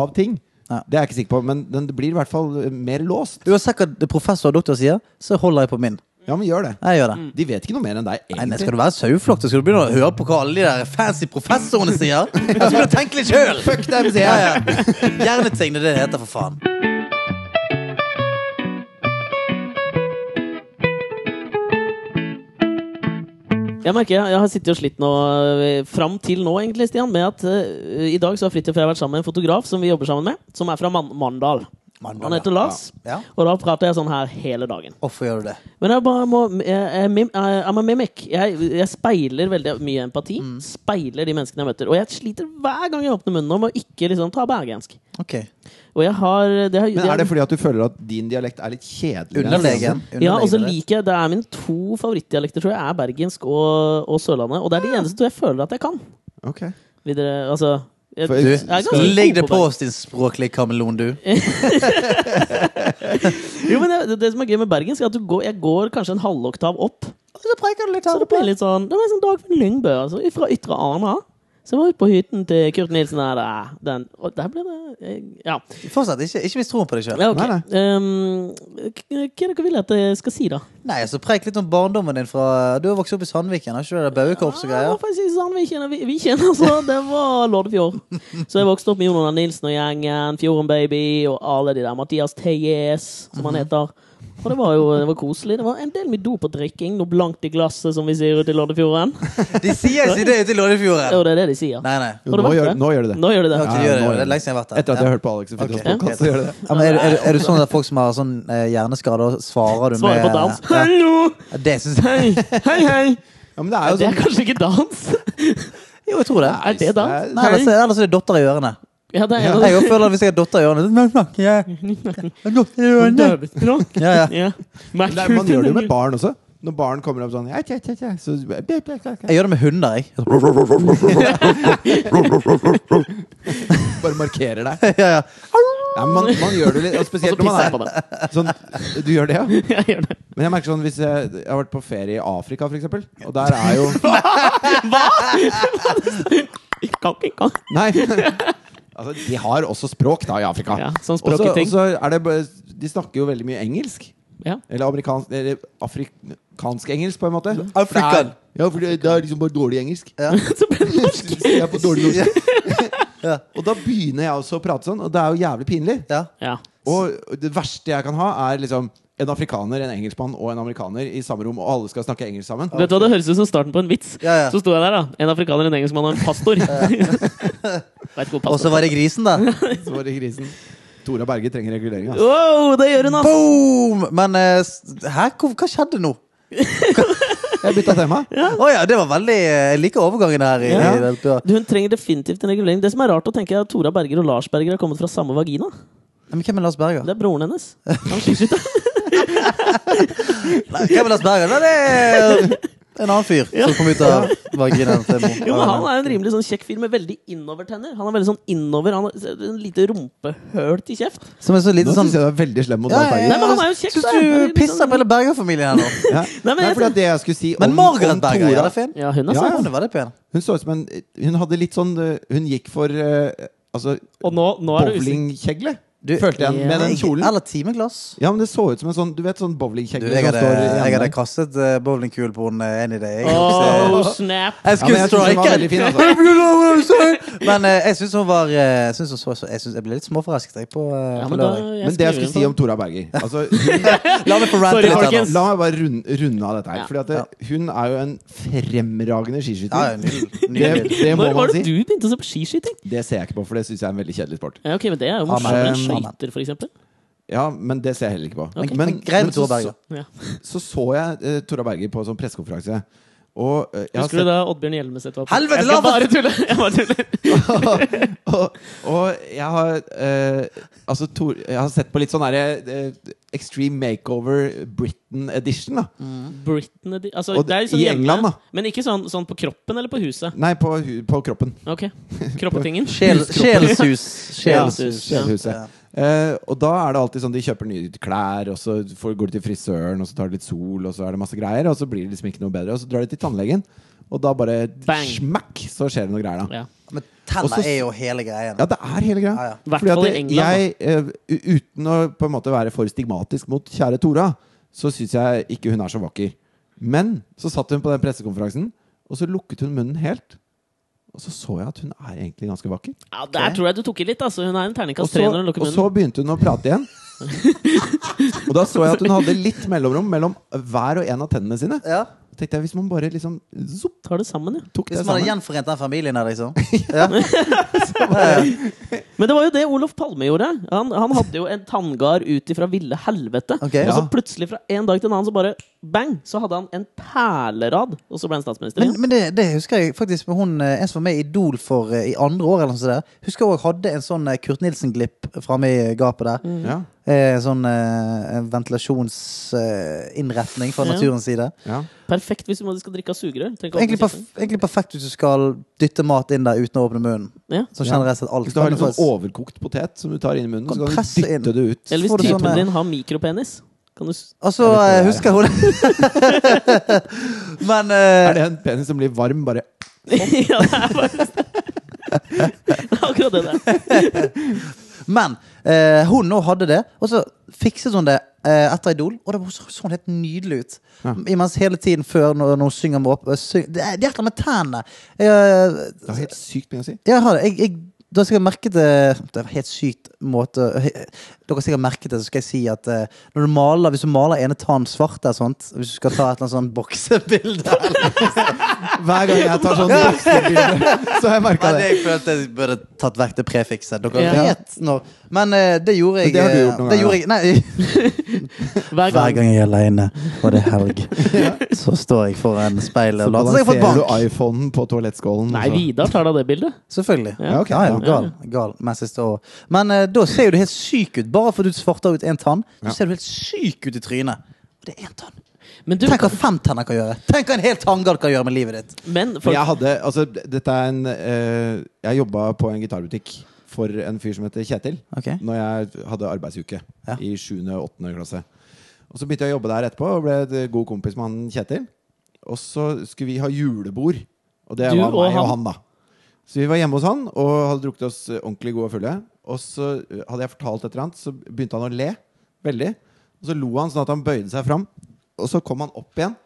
C: av ting,
B: Mm. Ja.
C: det er jeg ikke sikker på. Men den blir i hvert fall eh, mer låst.
B: Uansett hva det professor og doktor sier, så holder jeg på min.
C: Ja, men gjør det.
B: Jeg
A: Mm.
B: gjør det.
C: De vet ikke noe mer enn
B: Nei,
C: deg,
B: men
C: egentlig.
B: Skal du være saueflokk, så skal du begynne å høre på hva alle de der fancy professorene sier. Jeg skal begynne å tenke litt sjøl!
C: Fuck dem, sier
B: Ja,
C: jeg!
B: ja. Hjerneting, det er det det heter, for faen.
A: Jeg merker, jeg- jeg har sittet og slitt nå, eh, fram til nå egentlig, Stian, med at eh, i dag så har Fridtjof og jeg vært sammen med en fotograf som vi jobber sammen med, som er fra Man Mandal.
B: Mandal,
A: Han heter
B: ja.
A: Lars,
B: Ja.
A: og da prater jeg sånn her hele dagen.
B: Hvorfor gjør du det?
A: Men jeg bare må jeg, jeg, mim- jeg, I'm a mimic. Jeg, jeg speiler veldig mye empati. Speiler de menneskene jeg møter. Og jeg sliter hver gang jeg åpner munnen om å ikke liksom ta bergensk.
B: Ok.
A: Og jeg har, det har,
C: Men er det fordi at du føler at din dialekt er litt kjedelig?
B: Underlegen.
A: ja, altså, og så
B: Underlegen.
A: liker jeg Det er mine to favorittdialekter, tror jeg, er bergensk og, og Sørlandet. Og det er de eneste to jeg føler at jeg kan.
C: Ok.
A: Vil dere Altså jeg,
C: For-
A: jeg er
B: Du,
A: ganske
B: skal- legg
A: god
B: det på
A: bergensk.
B: oss, din språklige kameleon, du.
A: Jo, men det, det som er gøy med bergensk, er at du går, jeg går kanskje en halvoktav opp.
B: Så preker du litt
A: Så det blir litt sånn Det var sånn Dagfinn Lyngbø, altså, fra Ytre Arna. Så jeg var ute på hytten til Kurt Nilsen her, der, den, og der ble det eh, Ja.
B: Fortsatt, ikke, ikke mist troen på deg sjøl.
A: ja ok.
C: Nei,
A: Ehm, k- hva er det dere vil at jeg skal si, da?
B: Nei, så preik litt om barndommen din fra Du har vokst opp i Sandviken, har ikke du det? Bauekorps og
A: Ah,
B: greier?
A: det var faktisk ikke sånn vi kjenner, vi, vi kjenner altså, Det var Loddefjord. Så jeg vokste opp med Jonan Nilsen og gjengen, Fjorden Baby og alle de der. Mathias Tejes, som han heter. Og det var jo det var koselig. Det var en del med dop og drikking, noe blankt i glasset, som vi sier ute i Loddefjorden.
B: De sier ikke det ute i
A: Og
B: Loddefjorden!
A: det er det de sier.
B: Nei, nei.
C: Jo,
A: Har du
C: nå,
A: vært
C: gjør,
A: det?
C: nå gjør du det.
A: Nå gjør de det.
B: Ok, de gjør det. Det er lenge siden jeg har vært der.
C: Etter at jeg
B: Ja.
C: hørte på Alex og Fridtjofs
B: Ok.
C: podcast, så gjør du det.
B: Ja, men er, du- er, du- er du sånn at folk som har sånn eh, hjerneskade, og svarer du
A: Svarer
B: med
A: på dans.
B: Ja.
A: Hallo!
B: Ja, Det syns jeg
A: Hei, hei, hei!
C: Ja, men det er jo
A: Det er
C: sånn
A: kanskje ikke dans?
B: Jo, jeg tror det.
A: Er det dans?
B: Nei, ellers, ellers er det dotter i ørene.
A: Ja, det er en av
B: Jeg også føler at hvis jeg har dotter i ørene Men snakker jeg Jeg har dotter i
A: de
B: ørene
A: døvespråk.
B: Ja, ja.
A: Ja.
C: Men det er- Man gjør det jo med barn også. Når barn kommer opp sånn ja, tja, tja, tja, så,
B: Jeg gjør det med hunder, jeg.
C: Bare markerer deg.
B: Ja, ja.
C: Nei, men man, man gjør det litt, og
A: Og så
C: spesielt når
A: pisser jeg på
C: man
A: det.
C: er sånn Du gjør det, ja?
A: Jeg gjør det.
C: Men jeg merker sånn, hvis jeg, jeg har vært på ferie i Afrika, for eksempel Og der er jo
A: Kan ikke, kan.
C: Nei! Altså, de har også språk da i Afrika.
A: Ja, sånn
C: Og så-
A: språketing.
C: og så er det bare- De snakker jo veldig mye engelsk.
A: Ja.
C: Eller amerikansk Eller afrikansk-engelsk, på en måte.
B: Afrikan.
C: For det er- Ja, for det det er liksom bare dårlig engelsk.
A: Så ble det norsk.
C: Jeg er på dårlig norsk.
B: Ja.
C: Og da begynner jeg også å prate sånn, og det er jo jævlig pinlig.
B: Ja.
A: Ja.
C: Og det verste jeg kan ha, er liksom en afrikaner, en engelskmann og en amerikaner i samme rom, og alle skal snakke engelsk sammen.
A: Vet du hva, Det høres ut som starten på en vits.
B: Ja, ja.
A: Så sto jeg der, da. En afrikaner, en engelskmann og en pastor. Vet ikke hvor
B: Og så
A: pastor
B: var det grisen, da.
C: Så var det grisen. Tora Berge trenger regulering, altså.
A: Wow, det gjør hun, ass!
B: Boom! Men eh, s- hæ, hva, hva skjedde nå?
C: Jeg bytta tema.
B: Å ja, det var veldig eh, Jeg liker overgangen her. I,
A: Ja.
B: i det, ja.
A: Hun trenger definitivt en regulering. Det som er rart å tenke er at Tora Berger og Lars Berger har kommet fra samme vagina.
B: Men hvem er Lars Berger?
A: Det er broren hennes. Han skyter ut.
B: Nei, hvem er Lars Berger? Nei, det er en annen fyr som kom ut av vaginaen til mor.
A: Jo, men Han er en rimelig sånn kjekk fyr med veldig innovertenner. Han er veldig sånn innover Han har en lite rumpehøl til kjeft.
B: Som er så
C: Nå
B: lite sånn
C: syns jeg du er veldig slem mot
B: Ja, ja,
C: Lars Berger.
B: ja.
A: Nei, men han er jo kjekk,
B: Syns
A: da. Det er
B: du
A: litt
B: pisser
A: sånn-
B: på hele Berger-familien her nå?
C: Ja.
A: Nei, men
C: Nei,
A: jeg-
C: fordi at det jeg skulle si om,
B: Men Margaret
C: om
B: Berger,
C: Tora-
B: er det fin?
A: Ja, hun er
C: Ja,
A: søt.
C: ja.
B: Hun er veldig pen.
C: Hun så ut som en Hun hadde litt sånn eh, Hun gikk for eh, altså,
A: Og nå, nå er det usikker.
C: bowlingkjegle.
B: Du,
C: følte jeg,
A: Ja.
C: med den kjolen.
B: Eller timeglass.
C: Ja, men det så ut som en sånn Du vet sånn
B: Du,
C: bowlingkjegle
B: jeg
C: som
B: hadde,
C: står
B: jeg hadde
C: igjen.
B: kastet eh, bowlingkule på henne any day. Jeg,
A: Oh, snap!
B: jeg
C: Ja, men jeg synes den var veldig fin, altså.
B: Men eh, jeg syns hun var eh, synes hun så, så, jeg, synes, jeg ble litt småforelsket jeg, på, eh,
A: Ja,
B: på
A: men da,
B: lørdag.
A: jeg
C: Men det
A: skriver
C: jeg skulle
A: den
C: si
A: på.
C: om Tora Berger altså, hun,
B: La meg få rante
A: Sorry,
B: litt. her nå.
A: folkens.
C: La meg bare runde, runde av dette her.
A: Ja.
C: Fordi at det, hun er jo en fremragende
B: Ja, ja,
C: skiskytter.
B: nydelig.
C: Det,
B: nydelig.
C: det må
A: Når var
C: man
A: det
C: si.
A: du begynte å se på skiskyting?
C: Det ser jeg ikke på, for det syns jeg er en veldig kjedelig sport.
A: Ja, ok, men Det er jo morsommere
C: Amen.
A: enn skøyter, for eksempel.
C: Ja, Men det ser jeg heller ikke på.
A: Ok.
B: Men grei med
C: så,
B: Tora Berger.
A: Ja.
C: så så jeg eh, Tora Berger på en sånn pressekonferanse. Og, eh, jeg har
A: Husker du da Oddbjørn Hjelmeset var på?
B: Helvete,
A: jeg skal
B: la
A: bare tulle! Jeg bare tuller.
C: og, og jeg har eh, Altså, Tor, jeg har sett på litt sånn derre eh, Extreme Makeover Britain Edition, da.
A: Britain, de- altså,
C: Mm. Og
A: det er sånn
C: i
A: hjemme,
C: England, da.
A: Men ikke sånn, sånn på kroppen eller på huset?
C: Nei, på, hu- på kroppen.
A: Ok, Kroppetingen?
B: Sjel, sjelsus. Sjelsus.
A: Ja.
C: Kjedehuset.
B: Ja.
C: Eh, og da er det alltid sånn de kjøper nye klær, og så får, går de til frisøren, og så tar de litt sol, og så er det masse greier, og så blir det liksom ikke noe bedre. Og så drar de til tannlegen, og da bare
A: Bang.
C: smakk, så skjer det noe greier, da.
A: Ja.
B: Men
C: Også
B: tenner
C: s-
B: er jo hele greien.
C: Ja, det er hele greia.
B: Ja, ja.
A: Hvert
C: Fordi at
A: fall i
C: det-
A: England, da.
C: jeg, eh, u- uten å på en måte være for stigmatisk mot kjære Tora, så syns jeg ikke hun er så vakker. Men så satt hun på den pressekonferansen, og så lukket hun munnen helt. Og så så jeg at hun er egentlig ganske vakker.
A: Ja, Der tror jeg du tok i litt. altså Hun er en
C: Og
A: terningkast
C: så,
A: tre når hun lukker
C: og så
A: munnen.
C: begynte hun å prate igjen. og da så jeg at hun hadde litt mellomrom mellom hver og en av tennene sine.
B: Ja.
C: Da tenkte jeg Hvis man bare liksom zopp,
A: Tar det sammen, ja.
C: tok det
B: Hvis man har
C: sammen
B: gjenforent den familien her, liksom. Ja. Ja, ja.
A: Men det var jo det Olof Palme gjorde. Han, han hadde jo en tanngard ut ifra ville helvete.
B: Ok.
A: Og så
C: Ja.
A: plutselig, fra en dag til en annen, så bare bang! Så hadde han en perlerad, og så ble han statsminister.
B: Men,
A: igjen.
B: men det, det husker jeg faktisk med hun, eh, en som var med i Idol for eh, i andre år. eller noe sånt der. Husker jeg også hadde en sånn eh, Kurt Nilsen-glipp framme i gapet
A: Mm.
B: der.
C: ja,
B: Eh, sånn eh, ventilasjonsinnretning fra
A: Ja.
B: naturens side.
C: ja.
A: Perfekt hvis du må- du skal drikke av sugerør. Trenger ikke
B: Egentlig,
A: åpne
B: perf
A: kjeften.
B: egentlig perfekt hvis du skal dytte mat inn der uten å åpne munnen.
A: Ja.
B: Som
C: Ja.
B: generelt sett alt.
C: Hvis du har
B: kan
C: litt sånn
B: faktisk-
C: overkokt potet som du tar inn i munnen,
B: Kan
C: så kan du
B: presse
C: dytte
B: inn.
C: det ut.
A: Eller
B: får
A: hvis
B: du sånn,
A: typen
B: sånne-
A: din har mikropenis. Kan du s-
B: Altså, eh, husker hun Men eh,
C: Er det en penis som blir varm, bare
A: ja, det er bare Det er akkurat det det er.
B: Men eh, hun nå hadde det, og så fikset hun det eh, etter Idol. Og det var så, så hun helt nydelig ut.
C: Ja.
B: Imens hele tiden før når, når hun synger med opp øh, syng, Det er det er et eller annet med tennene. Eh,
C: Det er helt sykt mye å si.
B: jeg har det. Jeg, jeg, du har sikkert merket det Det er en helt sykt måte eh, Dere har sikkert merket det, så skal jeg si at eh, når du maler, hvis du maler ene tann svart eller sånt, hvis du skal ta et eller annet sånn boksebilde
C: Hver gang jeg tar sånn boksebilde, så har jeg merka
B: Men
C: det.
B: jeg følte jeg burde tatt vekk det prefikset. Dere
A: Ja.
B: vet når Men eh, det gjorde jeg
C: Men det har du gjort
B: eh, det
C: noen
B: gjorde
C: ganger,
B: jeg, Nei
A: Hver
B: Hver
A: gang.
B: gang jeg er aleine og det er helg, så står jeg foran speilet
C: Så
B: og later som jeg har fått
C: balanserer du
B: bank.
C: iPhonen på toalettskålen. Altså,
A: Nei,
C: så-
A: Vidar tar da det bildet.
B: Selvfølgelig.
A: Ja.
C: Ja, ok,
B: Ja, ja,
C: ja.
B: gal, gal mens jeg står Men eh, da ser jo du helt syk ut. Bare fordi du svarter ut én tann,
C: Ja.
B: så ser du helt syk ut i trynet. Og det er én tann.
A: Men du,
B: Tenk hva fem tenner kan gjøre. Tenk hva en hel tanngard kan gjøre med livet ditt.
A: men
C: Men
A: folk,
C: jeg hadde, altså d- dette er en eh, Jeg jobba på en gitarbutikk for en fyr som heter Kjetil.
B: Ok.
C: Når jeg hadde arbeidsuke
B: Ja.
C: i 7. og 8. klasse. Og så begynte jeg å jobbe der etterpå og ble et god kompis med han Kjetil. Og så skulle vi ha julebord. Og det
A: Du
C: var
A: og
C: meg og
A: han?
C: han, da. Så vi var hjemme hos han og hadde drukket oss eh, ordentlig gode og fulle. Og så eh, hadde jeg fortalt et eller annet, så begynte han å le veldig. Og så lo han sånn at han bøyde seg fram. Og så kom han opp igjen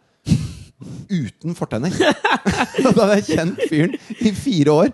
C: uten fortenner. Og da hadde jeg kjent fyren i fire år.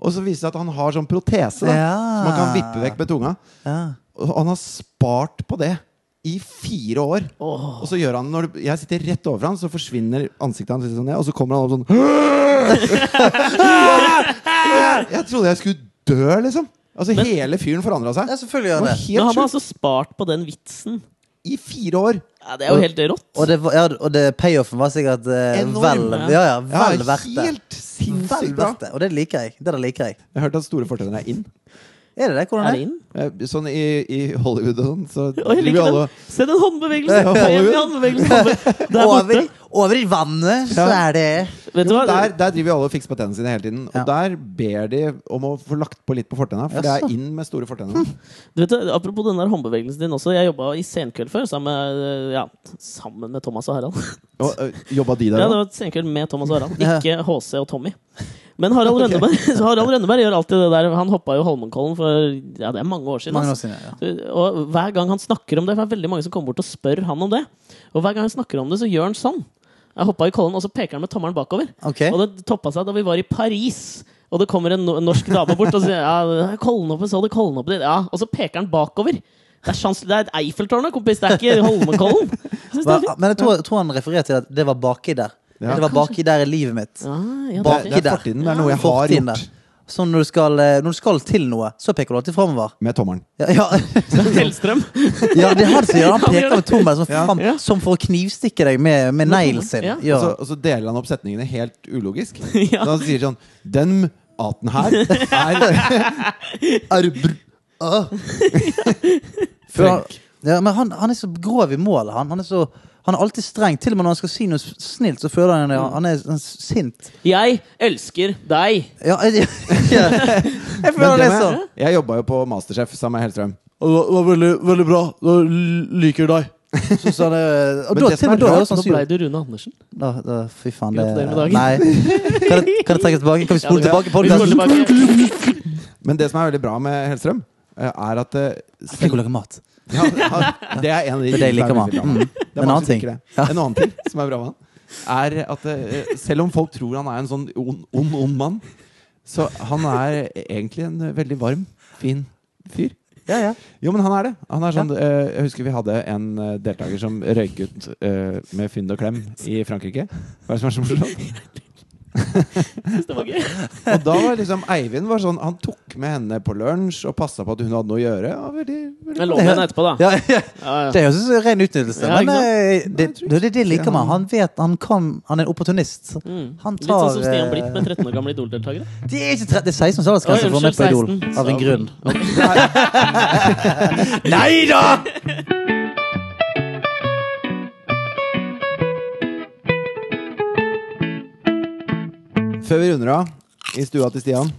C: Og så viser det seg at han har sånn protese da,
B: Ja.
C: som man kan vippe vekk med tunga.
B: Ja.
C: Og han har spart på det i fire år. Og så gjør han når du- Jeg sitter rett over han, så forsvinner ansiktet hans litt sånn ned, og så kommer han opp sånn Jeg trodde jeg skulle dø, liksom. Altså
A: Men-
C: Hele fyren forandra seg.
B: ja, selvfølgelig
C: Det
B: gjør
C: var
B: det.
A: nå har
C: helt
A: man
C: sjukt.
A: altså spart på den vitsen.
C: I fire år.
A: Ja, det er jo helt rått.
B: Og, det, var- ja, og det payoffen var sikkert eh,
C: Enorm,
B: vel,
A: ja.
B: ja, ja,
C: Ja,
B: vel verdt det.
C: Helt
B: Vel
A: Mm.
C: sinnssykt bra.
B: verdt det. Og det liker jeg. Det der liker jeg.
C: Jeg hørte at store fortenner er inn.
B: Er det det? Hvordan
A: Er
B: er
A: det
B: det?
A: inn?
C: Eh, Sånn i, i Hollywood og sånn, så
A: Å, jeg
C: driver vi
A: liker
C: alle
A: den.
C: og
A: Se den håndbevegelsen!
C: Ja,
A: Se den
C: Hollywood.
A: håndbevegelsen. Håndbe- Der borte.
B: Over, over i vannet så
C: Ja.
B: er det
A: Vet du
C: Jo,
A: hva?
C: men der, der driver jo alle og fikser på tennene sine hele tiden. Og
B: Ja.
C: der ber de om å få lagt på litt på fortenna, for det
B: Jaså.
C: er inn med store fortenner.
A: Du vet, apropos den der håndbevegelsen din også. Jeg jobba i Senkveld før, sammen med, øh, ja, sammen med Thomas og Harald.
C: Og ø, jobba de
A: Ja,
C: der
A: det
C: òg?
A: var et Senkveld med Thomas og Harald,
B: Ja.
A: ikke HC og Tommy. Men Harald Rønneberg, så Harald Rønneberg gjør alltid det der. Han hoppa jo Holmenkollen for ja, det er mange år siden.
B: Mange år
A: ass.
B: siden, ja.
A: Så- Og hver gang han snakker om det, for det er veldig mange som kommer bort og spør han om det, og hver gang han snakker om det, så gjør han sånn. Jeg hoppa i kollen, og så peker han med tommelen bakover.
B: Ok.
A: Og det toppa seg da vi var i Paris. Og det kommer en no- norsk dame bort og sier ja, Kollenhoppet, så du Kollenhoppet ditt? Ja. Og så peker han bakover. Det er, sjans, det er et Eiffeltårn, da, kompis. Det er ikke Holmenkollen. Jeg synes det er
B: Hva- Men jeg tror, jeg tror han refererer til at det var baki der.
C: Ja.
B: Det var baki der i livet mitt.
A: Ah, ja, det er
B: Baki
A: fint.
C: det er
B: der.
C: fortiden, det er noe jeg har
B: Fortiden
C: gjort.
B: der. Så når du, skal, eh, når du skal til noe, så peker du alltid framover.
C: Med tommelen.
B: Ja, ja,
A: Hellstrøm.
B: ja, det er her som gjør han
A: Ja, det gjør
B: peker med tommelen, som,
C: Ja.
B: faen-
A: Ja.
B: som for å knivstikke deg med, med neglen sin.
A: Ja.
B: Ja.
C: Og, så, og så deler han opp setningene helt ulogisk.
A: Ja.
C: Så han sier sånn Den aten her er
B: Er du br... Ah.
C: Frank.
B: Ja, men han, han er så grov i målet. Han, han, er så, han er alltid streng. Til og med når han skal si noe s- snilt, så føler han han er, han er sint.
A: Jeg elsker deg.
B: Ja, jeg, jeg, jeg
C: Men
B: føler
C: det
B: det
C: må
B: sånn.
C: jeg, jeg jobba jo på Masterchef sammen med Hellstrøm.
B: Og det var veldig, veldig bra. Da liker deg. Så sa det sånn Og
C: Men
B: da
C: det
B: til
C: som
B: og med
C: er
B: da
C: rart,
B: høres han
A: Nå
B: sur
A: blei
B: ut.
A: du Rune Andersen.
B: Da- da- Fy faen, det
A: Gratulerer med dagen.
B: Nei. Kan jeg, kan jeg trekke tilbake? Kan vi spole
A: Ja, det-
B: tilbake
A: Vi går
B: podkasten?
A: tilbake.
C: Men det som er veldig bra med Hellstrøm, eh, er at eh,
B: Tenk å lage mat.
C: ja, han- Det er en av de
B: Det er det jeg liker med han.
C: tingene som er veldig bra med han.
B: Mm.
C: Det er
B: En
C: mange
B: annen
C: som
B: ting.
C: liker det. En annen ting som er bra med han, er at eh, selv om folk tror han er en sånn ond, ond, ond mann, så han er egentlig en eh, veldig varm, fin fyr.
B: Ja, ja.
C: Jo, men han er det. Han er sånn, eh, jeg husker vi hadde en eh, deltaker som røyk ut eh, med fynd og klem i Frankrike. Hva er det som er så morsomt?
A: Det var gøy.
C: Og da var liksom Eivind var sånn Han tok med henne på lunsj og passa på at hun hadde noe å gjøre. Ja, veldig, veldig.
A: Jeg lå med henne etterpå, da.
B: Ja, ja.
A: Ja, ja.
B: Det høres ut som ren utnyttelse,
A: Ja, ikke
B: men eh, det,
C: Nei, jeg tror
B: det, det, det liker
C: Ja,
B: man.
C: han-
B: Han vet han kan Han er en opportunist.
A: Mm.
B: Han
A: Litt sånn
B: tar
A: som Stian
B: eh,
A: Blipp med 13 år gamle Idol-deltakere.
B: Det er ikke tre- det er 16
A: Oi,
B: som aldersgrense for å være med på
A: unnskyld,
B: Idol.
A: 16.
B: Av en grunn.
A: Nei da!
C: Før vi runder av i stua til Stian,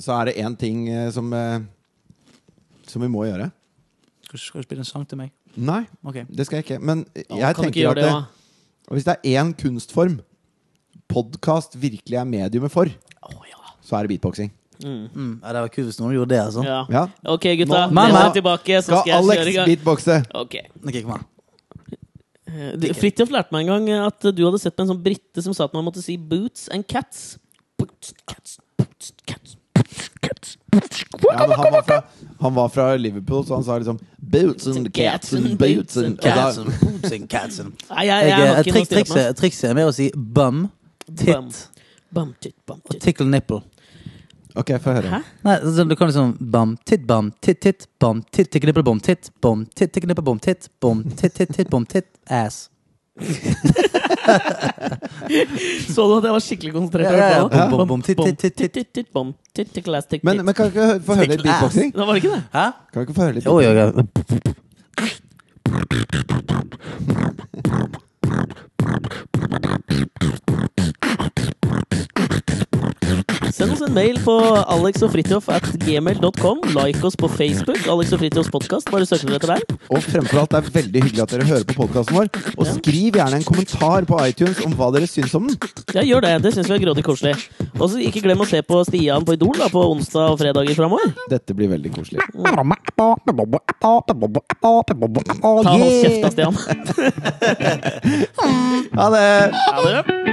C: så er det én ting eh, som, eh, som vi må gjøre.
B: Skal du spille en sang til meg?
C: Nei,
B: Ok.
C: det skal jeg ikke. Men jeg
A: Kan du ikke
C: tenker
A: gjøre
C: at
A: det,
C: det,
A: da?
C: og hvis det er én kunstform podkast virkelig er mediumet for,
A: Å, ja.
C: så er det beatboxing.
B: Mm, ja, det var kult hvis noen gjorde det, altså.
A: Ja.
C: Ja.
A: Ok, gutta.
B: Nå-
A: Dere
B: Mamma.
A: er tilbake, så
C: Skal
A: skal jeg kjøre
C: Alex
A: i gang.
C: beatboxe?
A: Ok.
B: Ok, kom her.
A: Eh, du- Fridtjof lærte meg en gang eh, at du hadde sett på en sånn brite som sa at man måtte si 'boots and cats'. Boots, cats, boots, cats, boots, cats.
C: Ja, men han, var fra, han var fra Liverpool, så han sa liksom Boots and cats and boots and
B: Cats
C: cats.
B: and boots and cats and
A: Nei, jeg, jeg,
B: jeg,
A: har
B: eh,
A: ikke noe å
B: trik,
A: styre på.
B: trikset, trikset er med å si bum,
A: Bum.
B: titt
A: Bum, titt, bum,
B: og
A: titt.
B: tickle nipple.
C: Ok, få høre.
A: Hæ?
B: Nei, så du kan liksom bum, titt, bum, titt, titt, bum, titt, tickle nipple, bum, titt, bum, titt, tickle nipple, bum, titt, bum, titt, titt, titt, bum, titt, ass.
A: Så du at jeg var skikkelig konsentrert?
B: Ja, ja,
A: på
B: ja.
A: det?
B: Bom, bom, bom, titt,
A: Bom,
B: titt, titt, titt.
A: titt, titt, bom, titt, titt, glass, titt,
C: Men,
A: titt.
C: men kan vi ikke få høre litt beatboxing?
A: Nå var det ikke det?
B: Hæ?
C: Kan vi ikke få høre litt
B: Jo, jo, jo.
A: Send oss en mail på alexogfritjof at gmail.com. Like oss på Facebook. Alex og Fritjofs podkast. Bare søk dere etter der.
C: Og fremfor alt, det er veldig hyggelig at dere hører på podkasten vår. Og
A: Ja.
C: skriv gjerne en kommentar på iTunes om hva dere syns om den.
A: Ja, gjør det. Det syns vi er grådig koselig. Og så ikke glem å se på Stian på Idol da, på onsdag og fredager framover.
C: Dette blir veldig koselig.
A: Ta
B: Ta
A: hans kjeft da, Stian.
C: Ha det!
A: Ha det.